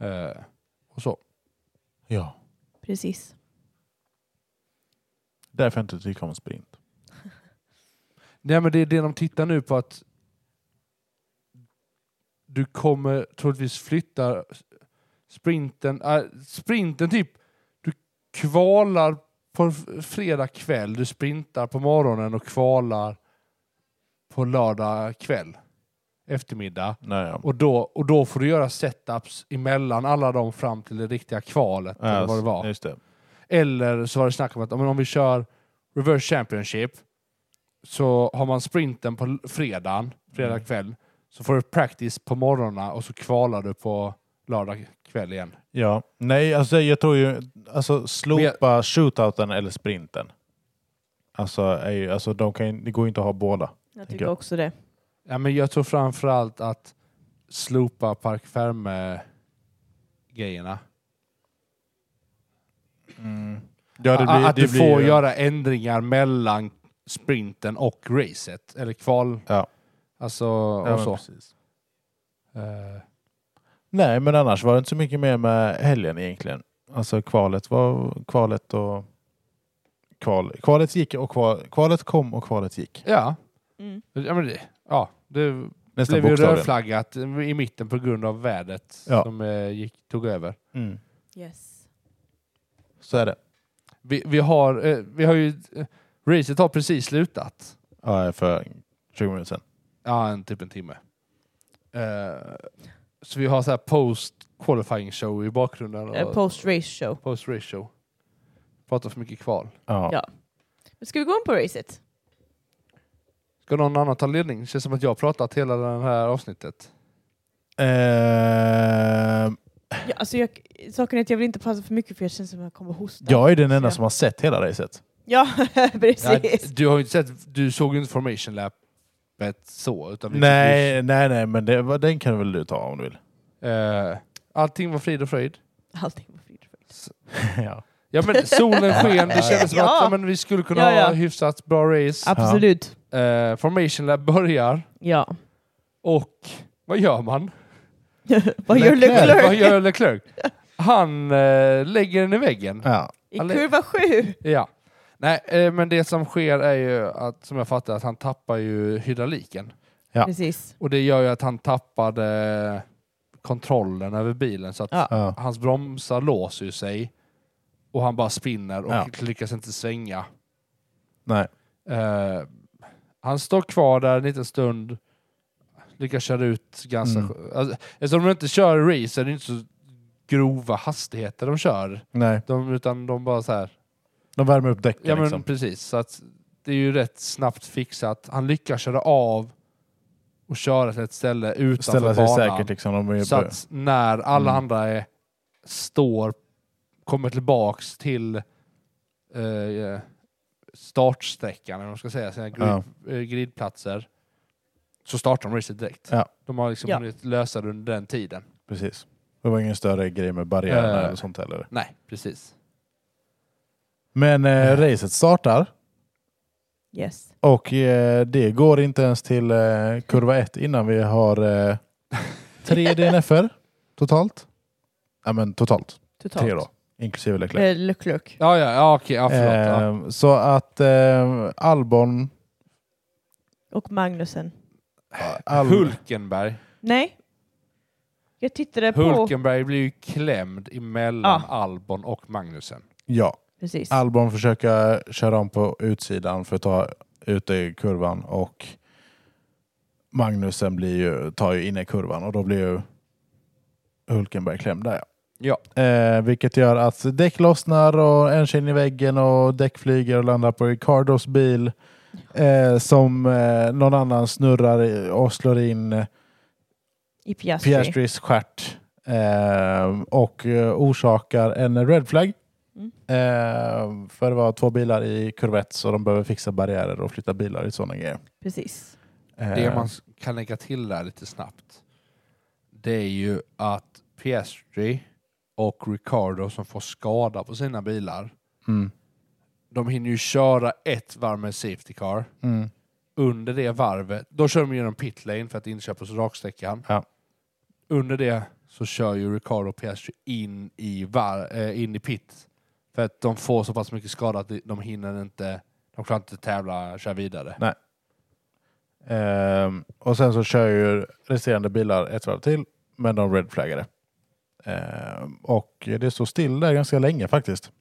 Eh, och så.
Ja.
Precis.
Därför jag inte tycker om sprint.
Nej men det är det de tittar nu på att du kommer troligtvis flytta sprinten, äh, sprinten typ, du kvalar på f- fredag kväll, du sprintar på morgonen och kvalar på lördag kväll, eftermiddag.
Nej, ja.
Och då, och då får du göra setups emellan alla dem fram till det riktiga kvalet. eller vad det var.
Alltså, Just det.
Eller så var det snack om att ja, men om vi kör reverse championship så har man sprinten på l- fredagen, fredag
Mm.
kväll, så får du practice på morgonen och så kvalar du på lördag kväll igen.
Ja. Nej, alltså jag tror ju... Alltså slopa shootouten eller sprinten. Alltså, är ju, alltså de kan, ju- det går ju inte att ha båda.
Jag
tycker
tycker också det.
Ja, men jag tror framförallt att slopa Park Ferme grejerna.
Ja, det blir,
att
det
du
blir
får
ju-
göra ändringar mellan sprinten och racet, eller kval.
Ja.
Alltså,
Ja, men
och så.
precis.
Eh,
Nej, men annars var det inte så mycket mer med helgen egentligen. Alltså kvalet var kvalet och kval, kvalet gick och kval, kvalet kom och kvalet gick.
ja.
Mm.
Ja, men det, ja, det
Nästan
blev ju
bokstavligen.
rödflaggat eh, i mitten på grund av vädret
Ja.
som eh, gick, tog över.
Mm.
Yes.
Så är det.
Vi, vi, har, eh, vi har ju... Eh, racet har precis slutat.
Ja, för 20 minuter sedan.
Ja, en, typ en timme. Eh, så vi har så här post qualifying show i bakgrunden. och-
Eh, Post-race show.
Post race show. Pratar för mycket kval.
Ja.
Ja. Men ska vi gå in på racet?
Ska någon annan ta ledning? Det känns som att jag har pratat hela det här avsnittet.
Ehm,
Ja, alltså jag, saken är att jag vill inte prata för mycket för jag känner som att jag kommer hosta.
jag är den enda
Ja.
som har sett hela racet.
Ja,
Ja,
precis.
du har ju inte sett, du såg ju inte formation lappet så. Utan vi-
Nej, nej, nej, men det, var- den kan väl du ta om du vill.
Eh, allting var frid och fröjd.
Allting var frid och fröjd.
ja.
Ja men solen sken, det kändes som
Ja.
att ja, men vi skulle kunna
Ja, ja.
ha hyfsat bra race.
Absolut.
Eh, Formation Lab börjar
Ja.
och vad gör man?
Vad gör Leclerc?
Vad gör Leclerc? Han eh, lägger den i väggen.
Ja.
I
Alle-
kurva sju.
Ja. Nej, eh, men det som sker är ju att, som jag fattar att han tappar ju hydrauliken.
Ja.
Precis.
Och det gör ju att han tappade kontrollen över bilen så att
Ja.
Ja.
hans bromsar låser ju sig och han bara spinner och
Ja.
lyckas inte svänga.
Nej.
Eh, han står kvar där en liten stund, lyckas köra ut ganska...
Mm.
Alltså, eftersom de inte kör race är det inte så grova hastigheter de kör.
Nej.
De, utan de bara så här...
De värmer upp däcken
Ja men
liksom.
precis, så att det är ju rätt snabbt fixat. Han lyckas köra av och köra till ett ställe utanför
Ställa sig
banan.
säkert liksom. De är ju
Så att när alla
Mm.
andra är, står, kommer tillbaks till eh, startsträckan, eller vad man ska säga, sina grid, eh, gridplatser, så startar de racet direkt.
Ja.
De har liksom
Ja.
hunnit lösa det under den tiden.
Precis. Det var ingen större grej med barriärerna
Eh.
eller sånt heller.
Nej, precis.
Men eh, racet startar
Yes.
och eh, det går inte ens till eh, kurva ett innan vi har eh, tre DNFer totalt. Ja men totalt,
Totalt.
tre då, inklusive Leclerc.
Eh, Leclerc.
Ja, ja, ja okej, ja, förlåt. ja.
Eh, så att eh, Albon...
Och Magnusen.
Al-
Hulkenberg.
Nej. Jag tittade på...
Hulkenberg blir ju klämd emellan Albon och Magnusen.
Ja,
Precis.
Albon försöka köra om på utsidan för att ta ut det i kurvan och Magnusen blir ju, tar ju in i kurvan och då blir ju Hulkenberg klämd där.
Ja.
Eh, vilket gör att däck lossnar och en känner i väggen och däck flyger och landar på Ricardos bil eh, som eh, någon annan snurrar i- och slår in eh,
I Piastri.
Piastris stjärt eh, och eh, orsakar en red flag.
Mm.
Eh, för det var två bilar i kurva ett, så de behöver fixa barriärer och flytta bilar i sådana grejer.
Precis.
Eh,
Det man s- kan lägga till där lite snabbt, det är ju att Piastri och Ricardo som får skada på sina bilar,
mm,
de hinner ju köra ett varv med Safety Car.
mm,
Under det varvet, då kör de genom pitlane för att inte köra på raksträckan.
Ja.
Under det så kör ju Ricardo och Piastri in i, var, eh, in i pit. För att de får så pass mycket skada att de- de hinner inte, de klarar inte tävla, köra vidare.
Ehm, och sen så kör ju resterande bilar ett varv till, men de redflaggade. Ehm, och det står still där ganska länge faktiskt.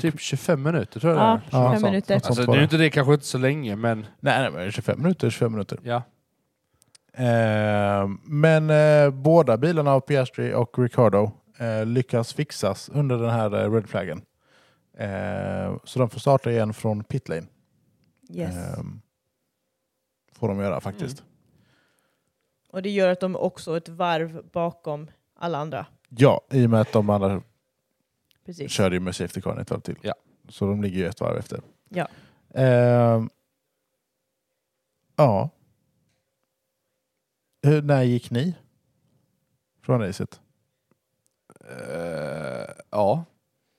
Typ 25 minuter tror jag
Ja,
det är.
25
Något sånt.
minuter.
Alltså,
Sånt
nu
var
är
det.
inte det kanske inte så länge, men
Nej, nej men 25 minuter, 25 minuter.
ja.
Ehm, men eh, båda bilarna av Piastri och Ricardo eh, lyckas fixas under den här eh, red flaggen. Ehm, så de får starta igen från pit lane.
Yes.
Eh.
Mm.
Ehm, får de göra faktiskt.
Och det gör att de också är ett varv bakom alla andra.
Ja, i och med att de andra
Precis.
körde ju med safety car ett varv till.
Ja.
Så de ligger ju ett varv efter.
Ja.
Ehm, ja. Hur, när gick ni? Från racet?
Eh, ja.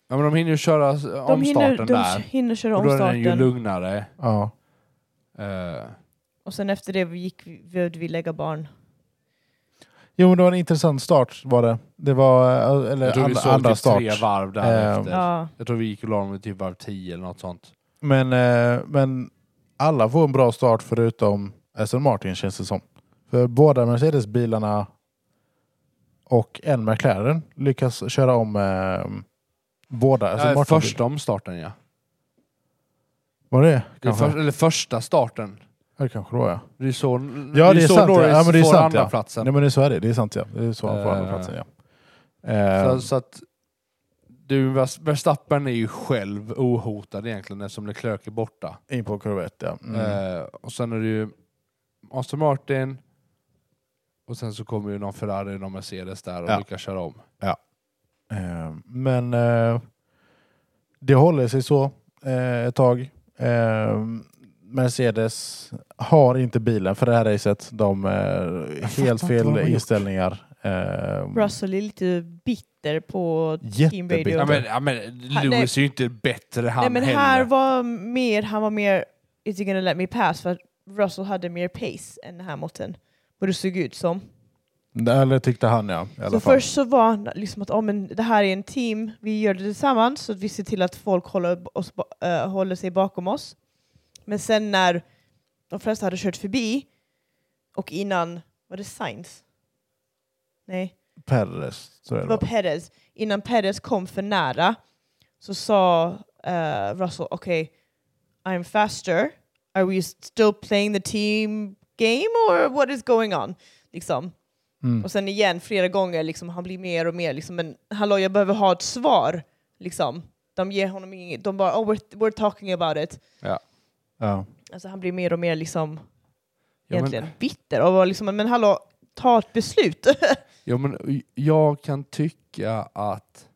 ja, men de hinner ju köra s-
De
omstarten
hinner, de
där.
hinner köra
Och då är den ju
omstarten.
lugnare.
Ja.
Eh,
Och sen efter det gick vi, behövde vi lägga barn.
Jo, men det var en intressant start var det. Det var, eh, eller
jag tror vi
andra,
såg
andra
typ
start. Eh,
tre varv därefter.
Ja,
Jag tror vi gick och la dem i typ varv 10 eller något sånt.
Men, eh, men alla får en bra start förutom Aston Martin känns det som. För båda Mercedes-bilarna och en McLaren lyckas köra om eh, båda Aston Alltså,
ja,
Martin.
Eh, första omstarten ja.
Var det
Det är
kanske?
för, eller första starten.
Ja, det kanske det var ja.
Det är så,
Ja, det är
så
sant, ja.
Norris
Ja, men det är
får
sant,
andra
ja.
platsen.
Nej men det- så är det, det är sant ja. Det är så han får
Eh.
andra platsen ja. Eh,
Så, så att du, Vers- Verstappen är ju själv ohotad egentligen eftersom Leclerc är borta.
Eh, in på kurva ett, ja. Mm.
Eh, och sen är det ju Aston Martin och sen så kommer ju någon Ferrari och någon Mercedes där och
Ja.
lyckas köra om.
Eh, men eh, det håller sig så eh, ett tag. Eh, Mercedes har inte bilen för det här racet. De eh,
fattar
helt
inte vad
fel
de har gjort.
inställningar. Eh,
Mm.
Russell är lite bitter på
Jättebitter.
teamradio.
Ja, men, ja, men
Han-
Lewis är ju inte bättre han
Nej men
heller.
här var mer, han var mer Is he gonna let me pass? För att Russell hade mer pace än Hamilton. Vad det såg ut som.
Eller tyckte han ja. I alla
Så
fall.
först så var han liksom att oh, men det här är en team, vi gör det tillsammans så att vi ser till att folk håller, oss, ba- eh, håller sig bakom oss. Men sen när de flesta hade kört förbi och innan, var det Sainz? Nej,
Perres. Så är
det
det.
var
va?
Perez. Innan Perez kom för nära så sa eh, Russell okej, I'm faster, are we still playing the team game or what is going on? Liksom.
Mm.
Och sen igen flera gånger, liksom, han blir mer och mer liksom, men hallå jag behöver ha ett svar. Liksom. De ger honom inget, de bara oh we're, we're talking about it.
Ja.
Alltså han blir mer och mer liksom
Ja, men-
egentligen bitter och var liksom, men hallå ta ett beslut.
Ja, men jag kan tycka att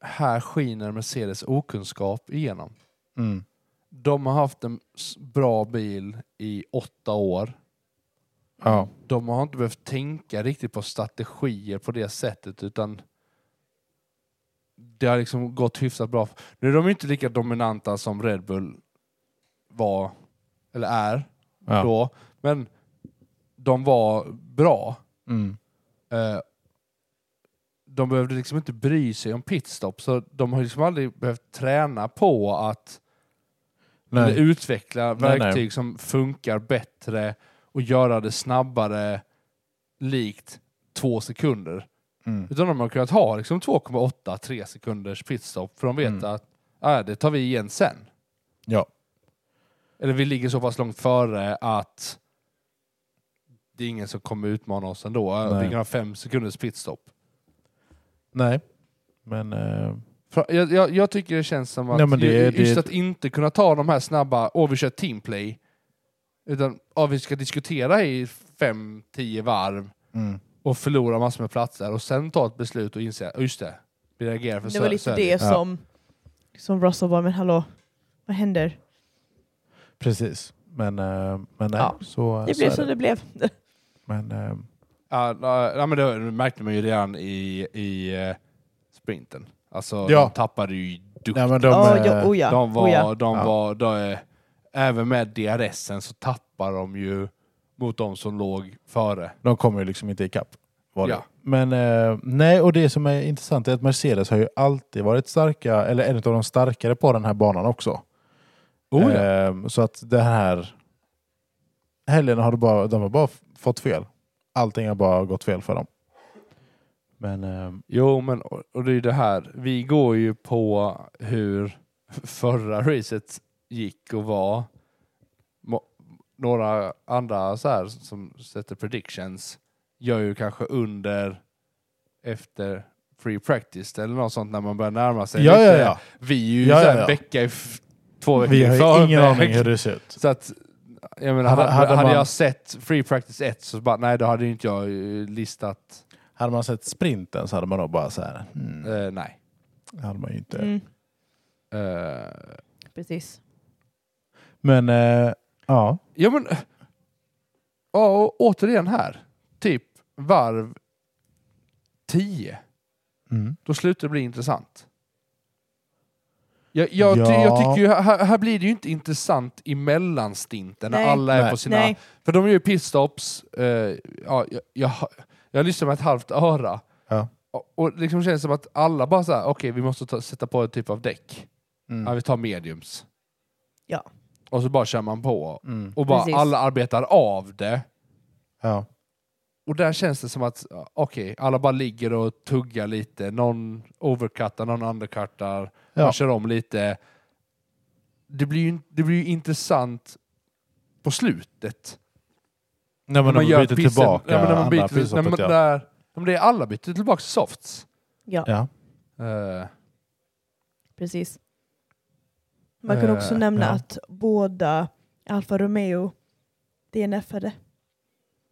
här skiner Mercedes okunskap igenom.
Mm.
De har haft en s- bra bil i åtta år.
Ja.
De har inte behövt tänka riktigt på strategier på det sättet utan det har liksom gått hyfsat bra. Nu är de ju inte lika dominanta som Red Bull var, eller är,
Ja.
då. Men de var bra.
Mm.
Eh, de behövde liksom inte bry sig om pitstop, så de har liksom aldrig behövt träna på att
Nej.
eller utveckla
Nej, nej.
verktyg som funkar bättre och göra det snabbare likt två sekunder.
Mm.
Utan de har kunnat ha liksom 2,8-3 sekunders pitstop för de vet
Mm.
att äh, det tar vi igen sen.
Ja.
Eller vi ligger så pass långt före att det är ingen som kommer utmana oss ändå. Äh,
Nej.
Vi kan ha fem sekunders pitstop.
Nej. Men... Eh,
Fra- Jag, jag, jag tycker det känns som att
Nej, men det
ju-
är-
just
det är-
att inte kunna ta de här snabba, åh vi kör teamplay, utan åh, vi ska diskutera i fem, tio varv
mm.
och förlora massor med platser och sen ta ett beslut och inse, "Ja, just det, vi reagerar för
Det
så-
var
så
lite
är
det
Ja.
som, som Russell var, men hallå, vad händer?
Precis. Men, eh, men nej.
Ja.
Så,
Det
så
blev
är
som det blev.
Men, eh,
Ja, ja, ja, men det märkte man ju redan i, i eh, sprinten. Alltså
Ja.
de tappade ju duktigt.
nej, men de,
Ja,
eh,
ja, oh ja.
De var,
oh ja.
de
Ja.
var, de, eh, även med DRSen så tappar de ju mot de som låg före.
de kommer ju liksom inte ikapp. Var det.
Ja.
Men eh, nej, och det som är intressant är att Mercedes har ju alltid varit starka, eller en av de starkare på den här banan också.
Oh, ja.
Ehm, så att det här helgen har det bara, de har bara f- fått fel. Allting har bara gått fel för dem. Men ehm,
Jo, men och och det är ju det här. Vi går ju på hur förra racet gick och var. Må- Några andra så här som sätter predictions gör ju kanske under, efter free practice eller något sånt när man börjar närma sig.
ja, ja,
lite.
ja.
Vi är ju
Ja,
så här
ja, ja.
en vecka, i f- två veckor
Vi har ju
före.
ingen aning hur det ser ut.
Så att, jag menar,
Hade-
hade,
hade
hade,
man-
jag sett free practice 1 så bara, nej, då hade ju inte jag eh, listat,
Hade man sett sprinten så hade man nog bara så här. Hmm,
eh, nej.
det hade man ju inte.
Mm,
Eh,
precis.
Men eh, ja,
Ja men... Ja, och återigen här. Typ varv 10.
mm.
Då slutar det bli intressant. Jag, jag, ty,
Ja.
jag tycker ju, här, här blir det ju inte intressant i mellanstinten när
Nej.
alla är
Nej.
på sina...
Nej,
För de gör ju pitstops. eh, ja, jag, jag, jag lyssnar med ett halvt öra.
Ja.
Och, och liksom känns som att alla bara såhär, okej vi måste ta, sätta på en typ av däck. Ja,
Mm.
vi tar mediums.
Ja.
Och så bara kör man på.
Mm.
Och bara
Precis.
alla arbetar av det.
ja.
Och där känns det som att, ja, okej, alla bara ligger och tuggar lite. Någon overcuttar, någon undercuttar.
Ja.
Man kör om lite. Det blir ju, det blir ju intressant på slutet.
Nej, men de byter
pissen-
tillbaka
ja, men när man
andra
byter, när man,
pitstoppet, ja.
när, om det är alla byter tillbaka till softs.
ja,
Ja.
Eh,
precis. Man kan också
Eh,
nämna
ja.
att båda Alfa Romeo DNF-ade.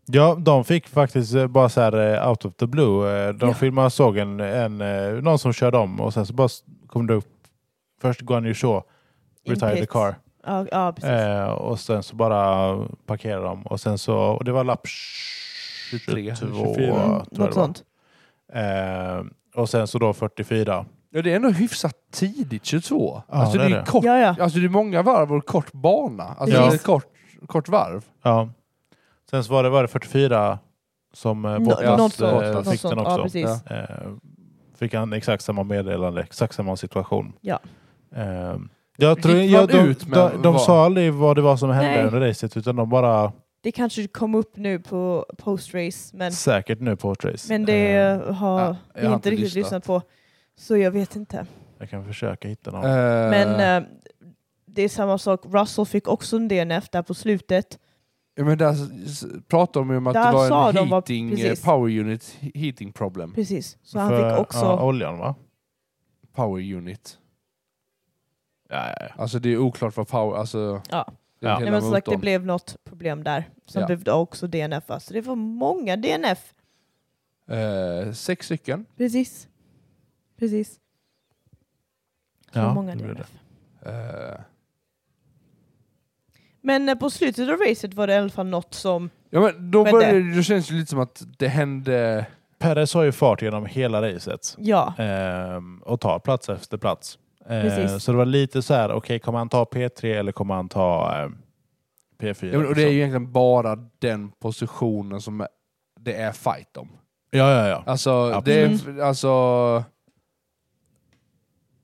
ja, de fick faktiskt eh, bara så här eh, out of the blue. eh, De
Ja.
filmade såg en, en, eh, någon som körde om och sen så bara s- kom det upp. Först Guan Yu Shaw,
In
retire the
pits.
car.
Ja, ja precis.
Eh, och sen så bara parkerade de och sen så, och det var lapp
23,
22,
24.
tror
Mm,
jag det
något
var.
sånt.
Eh, och sen så då 44.
ja, det är ändå hyfsat tidigt, 22.
Ja,
alltså,
det
det är
är det.
Kort,
Ja, ja.
alltså det är många varv och kort bana. Alltså
Ja.
det är ett kort, kort varv.
Ja. Sen så var det, var det 44 som eh,
Nå- något
Bottas
sånt,
eh,
något
fick den
sånt.
också.
Ja, precis.
Ja.
Eh, fick han exakt samma meddelande, exakt samma situation.
Ja.
Eh, jag tror,
Gick
jag,
man
de,
ut med
de, de
vad?
sa aldrig vad det var som hände
Nej.
under racet utan de bara
Det kanske kom upp nu på post-race, men,
säkert nu på ett race.
men det
Eh,
har
ja, jag
vi
har
inte
inte
riktigt
lyssnat.
lyssnat på. Så jag vet inte.
jag kan försöka hitta någon.
Eh,
Men eh, det är samma sak, Russell fick också en DNF där på slutet.
Ja, men där s- pratade de ju om att
Där
det var
sa de
en
vad-
heating, eh,
precis.
power unit he- heating problem.
Precis, så han
För,
fick också...
ja, oljan va?
Power unit.
Ja, ja, ja.
Alltså det är oklart vad power... Alltså,
Ja.
det är
Ja.
hela
Nej, men som sagt, det
motorn.
blev något problem där som
Ja.
behövde också DNF. Så Alltså, det var många DNF.
Eh, sex stycken.
Precis. Precis. Så
Ja,
många
det blev
DNF.
Eh,
Men eh, på slutet av racet var det i alla fall något som...
ja, men då,
Men
började, det- då känns det lite som att det hände...
Perez har ju fart genom hela racet.
Ja,
Ehm, och tar plats efter plats. Ehm,
Precis.
så det var lite så här, okej kommer han ta P3 eller kommer han ta ehm, P4?
Ja, men, och det är ju
liksom?
egentligen bara den positionen som det är fight om.
ja, ja, ja.
Alltså, det är, alltså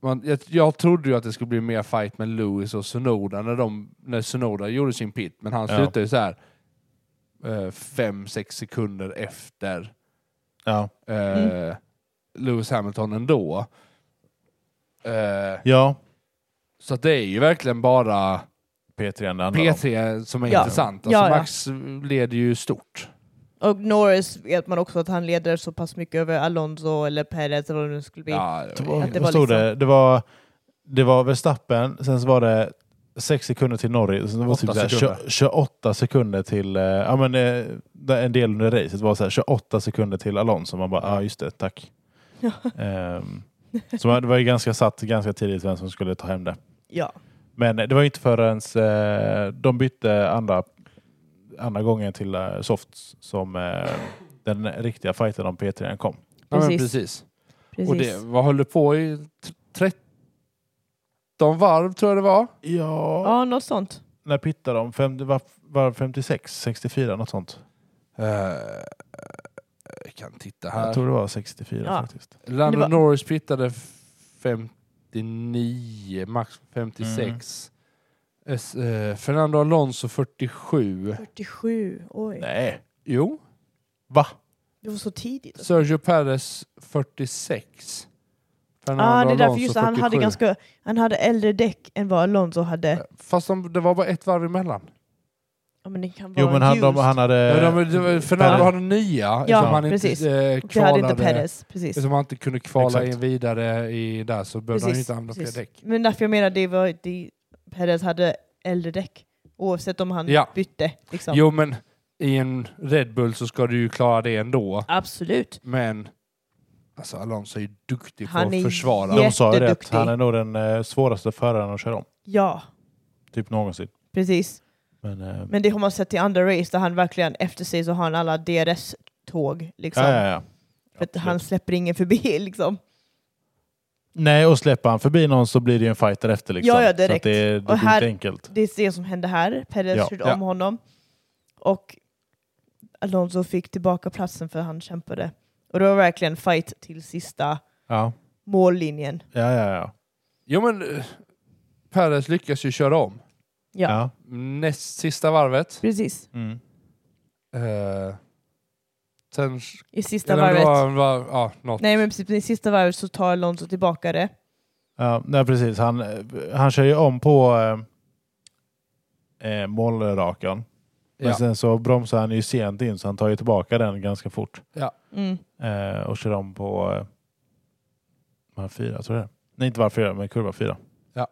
man, jag, jag trodde ju att det skulle bli mer fight med Lewis och Sonoda när, de, när Sonoda gjorde sin pit, men han
Ja.
slutade ju så här. eh, fem, sex sekunder efter
Ja.
eh,
Mm.
Lewis Hamilton ändå. Eh,
ja,
så att det är ju verkligen bara
P3 det handlar om.
P3 som är
Ja.
intressant. Alltså
Ja, ja.
Max leder ju stort.
Och Norris vet man också att han leder så pass mycket över Alonso eller Perez eller vad det nu skulle bli.
Ja,
Det var,
Att det
det,
var
vad stod
liksom-
det? Det, var, det var Verstappen, sen så var det 6 sekunder till Norris, sen det var
Åtta
typ så här,
sekunder.
20 28 sekunder till, eh, ja men eh, där en del under racet var så här, 28 sekunder till Alonso. Man bara, ja ah, just det, tack.
Ja.
Ehm, så man- det var ju ganska satt ganska tidigt vem som skulle ta hem det.
Ja.
Men eh, det var ju inte förrän eh, de bytte andra, andra gången till eh, softs som eh, den riktiga fighten om P3 kom.
Ja, men
Precis.
precis.
Precis.
Och det, vad höll du på i? T- 13 varv tror jag det var.
Ja,
Ja, något sånt.
när pittade de? Fem, det var, var 56, 64 något sånt?
Eh, jag kan titta
Jag
här.
tror det var 64
Ja.
faktiskt.
Lando
Det var-
Norris pittade 59, max 56.
Mm.
S, eh, Fernando Alonso 47.
47, oj.
Nej.
Jo.
Va?
Det var så tidigt.
Sergio Perez 46. Fernando
ah, det är därför
Alonso
just det, han hade
47.
ganska, han hade äldre däck än vad Alonso hade.
Eh, Fast de, det var bara ett varv emellan.
Ja, men det kan vara
Jo men han, de,
used.
han hade...
Ja, de, de, Fernando
Per-
hade nya eftersom han
Eh, precis.
inte eh,
Och det hade inte
kvalade-
Perez, precis.
Eftersom han inte kunde kvala
Exakt.
in vidare i där så behövde han ju
Precis,
inte använda fler
precis.
däck.
Men därför jag menar, det var, det, Perez hade äldre däck. Oavsett om han
Ja.
bytte. Liksom.
Jo, men i en Red Bull så ska du ju klara det ändå.
Absolut.
Men alltså Alonso är ju duktig på
Han
att
är
försvara.
de sa ju det, att
jätteduktig.
han är nog den eh, svåraste föraren att köra om.
Ja,
Typ någonsin.
precis.
Men, eh,
Men det har man sett i andra race där han verkligen efter sig så har han alla DRS-tåg. Liksom.
ja, ja, ja.
För att han
Absolut.
släpper ingen förbi liksom.
Nej, och släpper han förbi någon så blir det ju en fight därefter. Liksom.
Ja, ja,
Så att
direkt.
det det
Och
blir
här-
inte enkelt.
Det är det som hände här. Perez
Ja.
körde
Ja.
om honom. Och Alonso fick tillbaka platsen för han kämpade. Och det var verkligen fight till sista
Ja,
mållinjen.
ja, ja. ja.
Jo, men eh, Perez lyckas ju köra om
Ja.
ja.
näst sista varvet.
Precis.
Mm.
Eh, sen...
I sista
Eller
varvet.
det var, var, ja, något.
Nej men precis, i sista varvet så tar Alonso tillbaka det.
Ja, nej, precis. Han, eh, han kör ju om på eh, eh, målrakan. Men
Ja.
sen så bromsar han ju sent in så han tar ju tillbaka den ganska fort.
Mm.
Eh, och kör om på eh, varv fyra, tror jag det är. Nej, inte varv fyra, men kurva fyra.
Ja.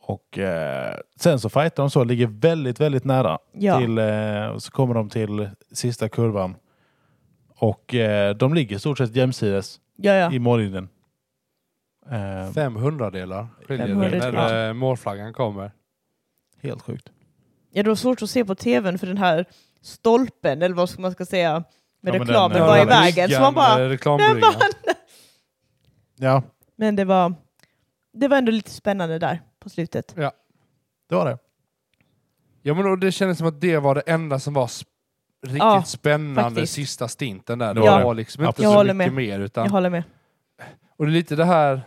Och eh, sen så fightar de så, ligger väldigt, väldigt nära.
Ja.
Till, eh, och så kommer de till sista kurvan. Och eh, de ligger i stort sett jämsides
ja, ja.
i mållinjen. Eh,
500 delar skiljer det
500
när eh, målflaggan kommer.
helt sjukt.
Ja, det var svårt att se på tvn för den här stolpen, eller vad ska man ska säga,
Ja,
med
men
reklamen
den-
var i
ja,
vägen. Så man bara... Den
Reklambryggan.
vann!
Ja,
Men det var, det var ändå lite spännande där på slutet.
det var det.
Ja, men och det kändes som att det var det enda som var sp- riktigt
Ja,
spännande
faktiskt.
sista stinten där. Det
Ja.
var liksom inte
Absolut.
Jag
så
håller
mycket
med.
mer.
Jag
Utan,
håller med.
och det är lite det här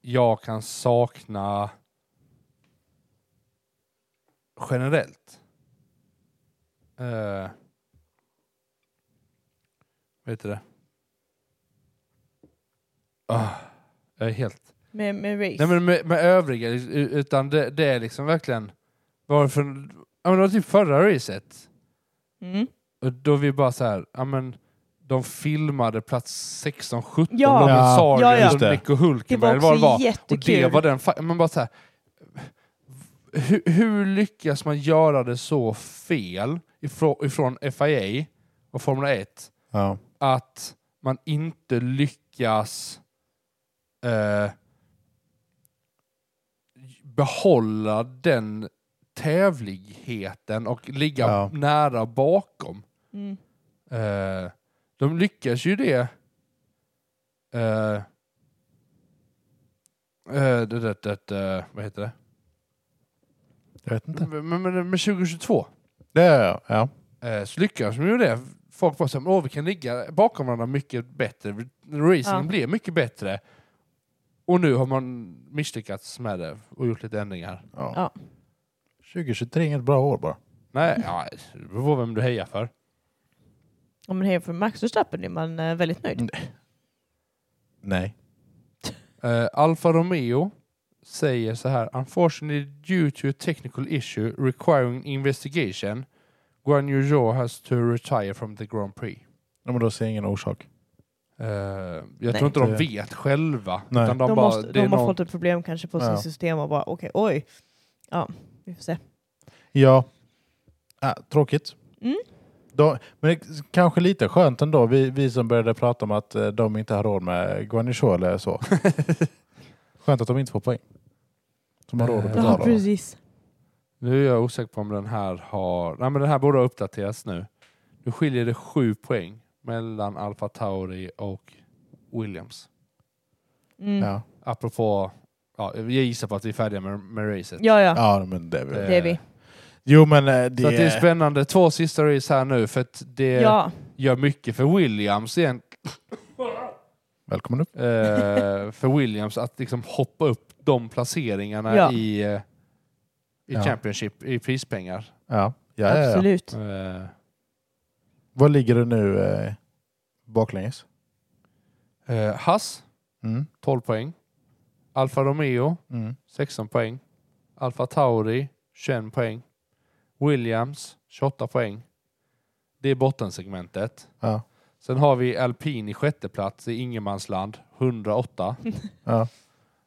jag kan sakna generellt. Eh, vet du det? Ah, jag är helt
Med, med race.
Nej men med, med övriga, u- utan det, det är liksom verkligen varför... Ja men det var typ förra racet,
mm.
och då vi bara så här, ja men de filmade plats 16-17,
Ja.
de med
Ja.
Sargent
Ja, ja.
och Nico
Det
Hulkenberg
var också
eller vad det var. Och
jättekul.
det var den fa- men bara så här, hur, hur lyckas man göra det så fel ifrån, ifrån FIA och Formel 1
Ja.
att man inte lyckas eh, behålla den tävligheten och ligga
Ja.
nära bakom.
Mm.
Eh, de lyckas ju det. Eh, eh, det, det, det, det, vad heter det?
Jag vet inte.
Men, men, men med 2022
Det gör jag, ja.
eh, så lyckas de ju det. Folk bara såhär, åh vi kan ligga bakom varandra mycket bättre. Racing
Ja.
blir mycket bättre. Och nu har man misslyckats med det och gjort lite ändringar.
ja.
Ja.
2023 är inget bra år bara.
Nej, ja, det beror på vem du hejar för.
Om man hejar för Max Verstappen är man eh, väldigt nöjd.
Nej.
Eh, Alfa Romeo säger så här. Unfortunately due to a technical issue requiring investigation Guan Yu Zhou has to retire from the Grand Prix.
Ja, men då ser jag ingen orsak.
Eh, jag tror inte de
Det-
vet själva.
Nej.
Utan de,
De,
bara,
måste,
det är
de har
någon...
fått ett problem kanske på
Ja.
sin system och bara okej, oj. Ja, vi får se.
Ja. Äh, tråkigt.
Mm.
De, men det är kanske lite skönt ändå, vi, vi som började prata om att eh, de inte har råd med guanichou eller så. skönt att de inte får poäng. Som har råd att
Ja,
betala.
Ja,
va?
precis.
Nu är jag osäker på om den här har... Nej men den här borde ha uppdaterats nu. Nu skiljer det sju poäng mellan Alfa Tauri och Williams.
Mm. Ja.
Ja.
Apropå... Ja, jag gissar på att vi är färdiga med, med racet.
Ja,
ja, men det är väl...
Eh,
det är vi.
Jo, men eh,
Så att det är
det...
spännande. Två sista race här nu för att det
Ja,
gör mycket för Williams igen.
Välkommen upp.
Eh, för Williams att liksom hoppa upp de placeringarna
Ja.
i, eh, i
Ja.
Championship, i prispengar.
Ja. Ja, ja, ja.
absolut.
Eh,
Vad ligger det nu eh, baklänges?
eh, Haas,
Mm.
12 poäng. Alfa Romeo,
Mm.
16 poäng. Alfa Tauri, 21 poäng. Williams, 28 poäng. Det är bottensegmentet.
Ja.
Sen har vi Alpin i sjätte plats i ingenmansland, 108.
Ja.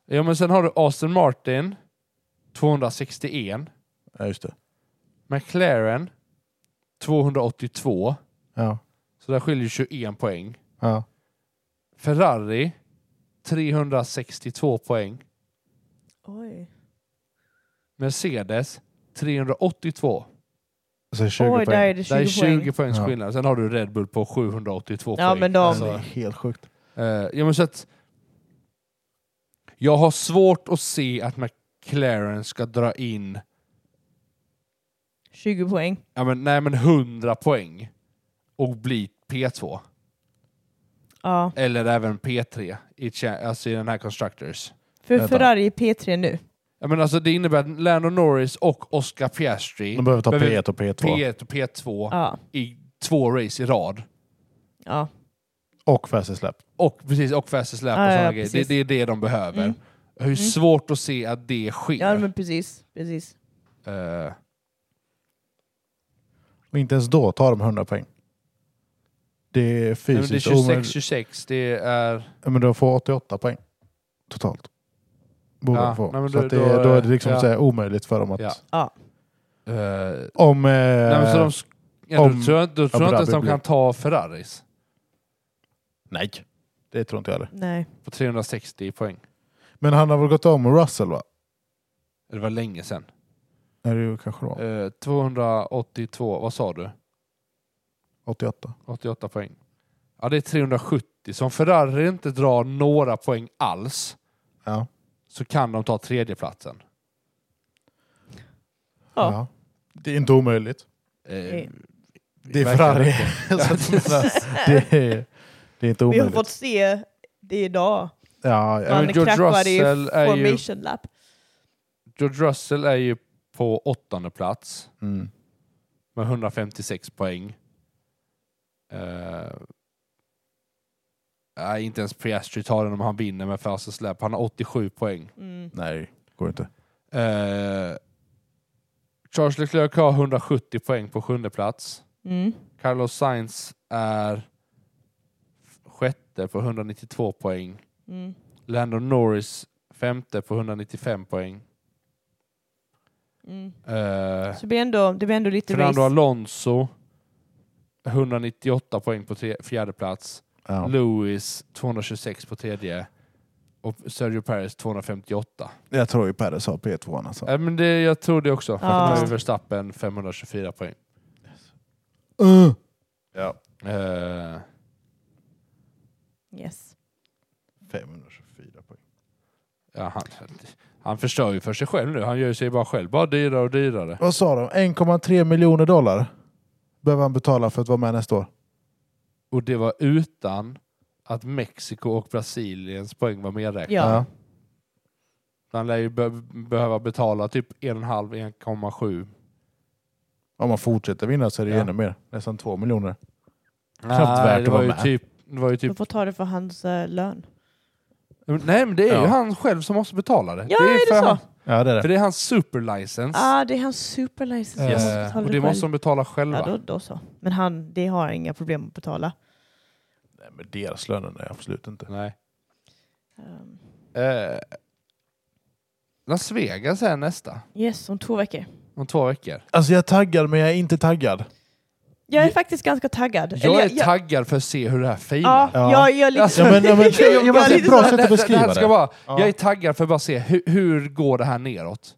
Ja, men sen har du Aston Martin, 261.
ja, just det.
McLaren, 282.
Ja.
Så där skiljer 21 poäng.
Ja.
Ferrari, 362 poäng.
Oj.
Mercedes, 382.
Så 20
Oj,
Alltså, poäng.
där är det 20,
Där är
20
20
poäng.
poängs
Ja.
skillnad. Sen har du Red Bull på 782
Ja,
poäng.
men de-
Alltså, det är helt sjukt.
eh, ja, men så att, jag har svårt att se att McLaren ska dra in
poäng.
ja, men, nej, men 100 poäng och bli P2.
Ja. För
Eller även P3 i, cha- alltså i den här Constructors.
Vänta.
Ferrari är P3 nu.
Ja, men alltså, det innebär att Lando Norris och Oscar Piastri,
De behöver ta
Behöver-
P1 och P2.
P1 och P2,
Ja.
i två race i rad.
ja.
Och fastest lap.
Och precis, och fastest lap och
Ja,
sådana
ja,
grejer. Det,
precis.
det är det de behöver.
Mm.
Jag har ju
Mm.
svårt att se att det sker.
Ja, men precis. precis.
Eh,
Och inte ens då tar de 100 poäng. Det är
nej, men
fysiskt
det är 26, 26, det är... eh,
Ja, Men de får 88 poäng totalt. Borde
Ja,
de få.
nej, men
så
då-
att det, är-
då-
då är det liksom
ja.
så här omöjligt för dem att...
Ja. eh,
Om... Eh,
nej, men så de, sk- ja,
om
då tror jag, då tror jag inte ens
Dhabi
de
blir-
kan ta Ferraris
nej. Det tror inte jag heller.
Nej.
på 360 poäng.
Men han har väl gått om Russell va?
Det var länge sedan.
Är det ju kanske då?
Eh, 282, vad sa du?
88.
88 poäng. Ja, det är 370. Så om Ferrari inte drar några poäng alls
Ja.
så kan de ta tredjeplatsen.
Ja.
Det är inte omöjligt.
Eh,
Det är
verkar
Ferrari.
inte.
Så att jag menar, det, är, det är inte
Vi har
omöjligt.
fått se det idag.
Ja,
Ja,
ja.
men
Man
George
kraschar i
Russell är ju-
formation lap.
George Russell är ju på åttonde plats
Mm.
med 156 poäng. Eh, nej, inte ens Piastri tar den om han vinner med fastest släp. Han har 87 poäng.
Mm.
Nej, går inte.
Eh, Charles Leclerc har 170 poäng på sjunde plats.
Mm.
Carlos Sainz är sjätte på 192 poäng.
Mm.
Lando Norris femte på 195 poäng.
Mm.
Eh,
Så det blir ändå, det blir ändå lite
Fernando
race.
Alonso 198 poäng på tre, fjärde plats.
Ja.
Lewis 226 på tredje. Och Sergio Perez 258.
Jag tror ju Perres har P2 alltså.
Äh, men det, jag tror det också. För att
Ja.
nu är Verstappen 524 poäng.
Uh.
Eh,
Yes.
524 poäng.
ja, han, han förstör ju för sig själv nu. Han gör sig bara själv bara dyrare och dyrare.
Vad sa de? 1,3 miljoner dollar behöver han betala för att vara med nästa år.
Och det var utan att Mexiko och Brasiliens poäng var medräknade.
Ja.
Han lär ju be- behöva betala typ 1,5-1,7
Om man fortsätter vinna så är det
Ja.
ännu mer. Nästan två miljoner. Knappt värt
Nej,
att
det var
vara
ju
med.
typ... Det var ju typ
De får ta det för hans eh, lön.
nej, men det är ju
Ja.
han själv som måste betala det.
Ja,
det
är det
för
så?
Han,
Ja, det är
för
det.
det är hans superlicens.
Ah, det är hans superlicens.
Eh,
Han måste betala
och det
själv.
måste de betala själva.
Ja, då, då så. Men han, det har han inga problem att betala.
Nej, men deras löner, nej absolut inte.
Nej.
Um,
Eh, Las Vegas är nästa.
yes, om två veckor.
Om två veckor.
Alltså jag är taggad men jag är inte taggad.
Jag är faktiskt ganska taggad.
Jag är
jag,
taggad för att se hur det här filar.
Ja,
Ja.
jag, jag är lite...
Ja, men, ja, men,
Jag- jag
ja, men,
var
det är
lite
ett bra
så-
sätt att beskriva
här
det.
ska Vara,
Ja.
Jag är taggad för att bara se hur, hur går det här neråt.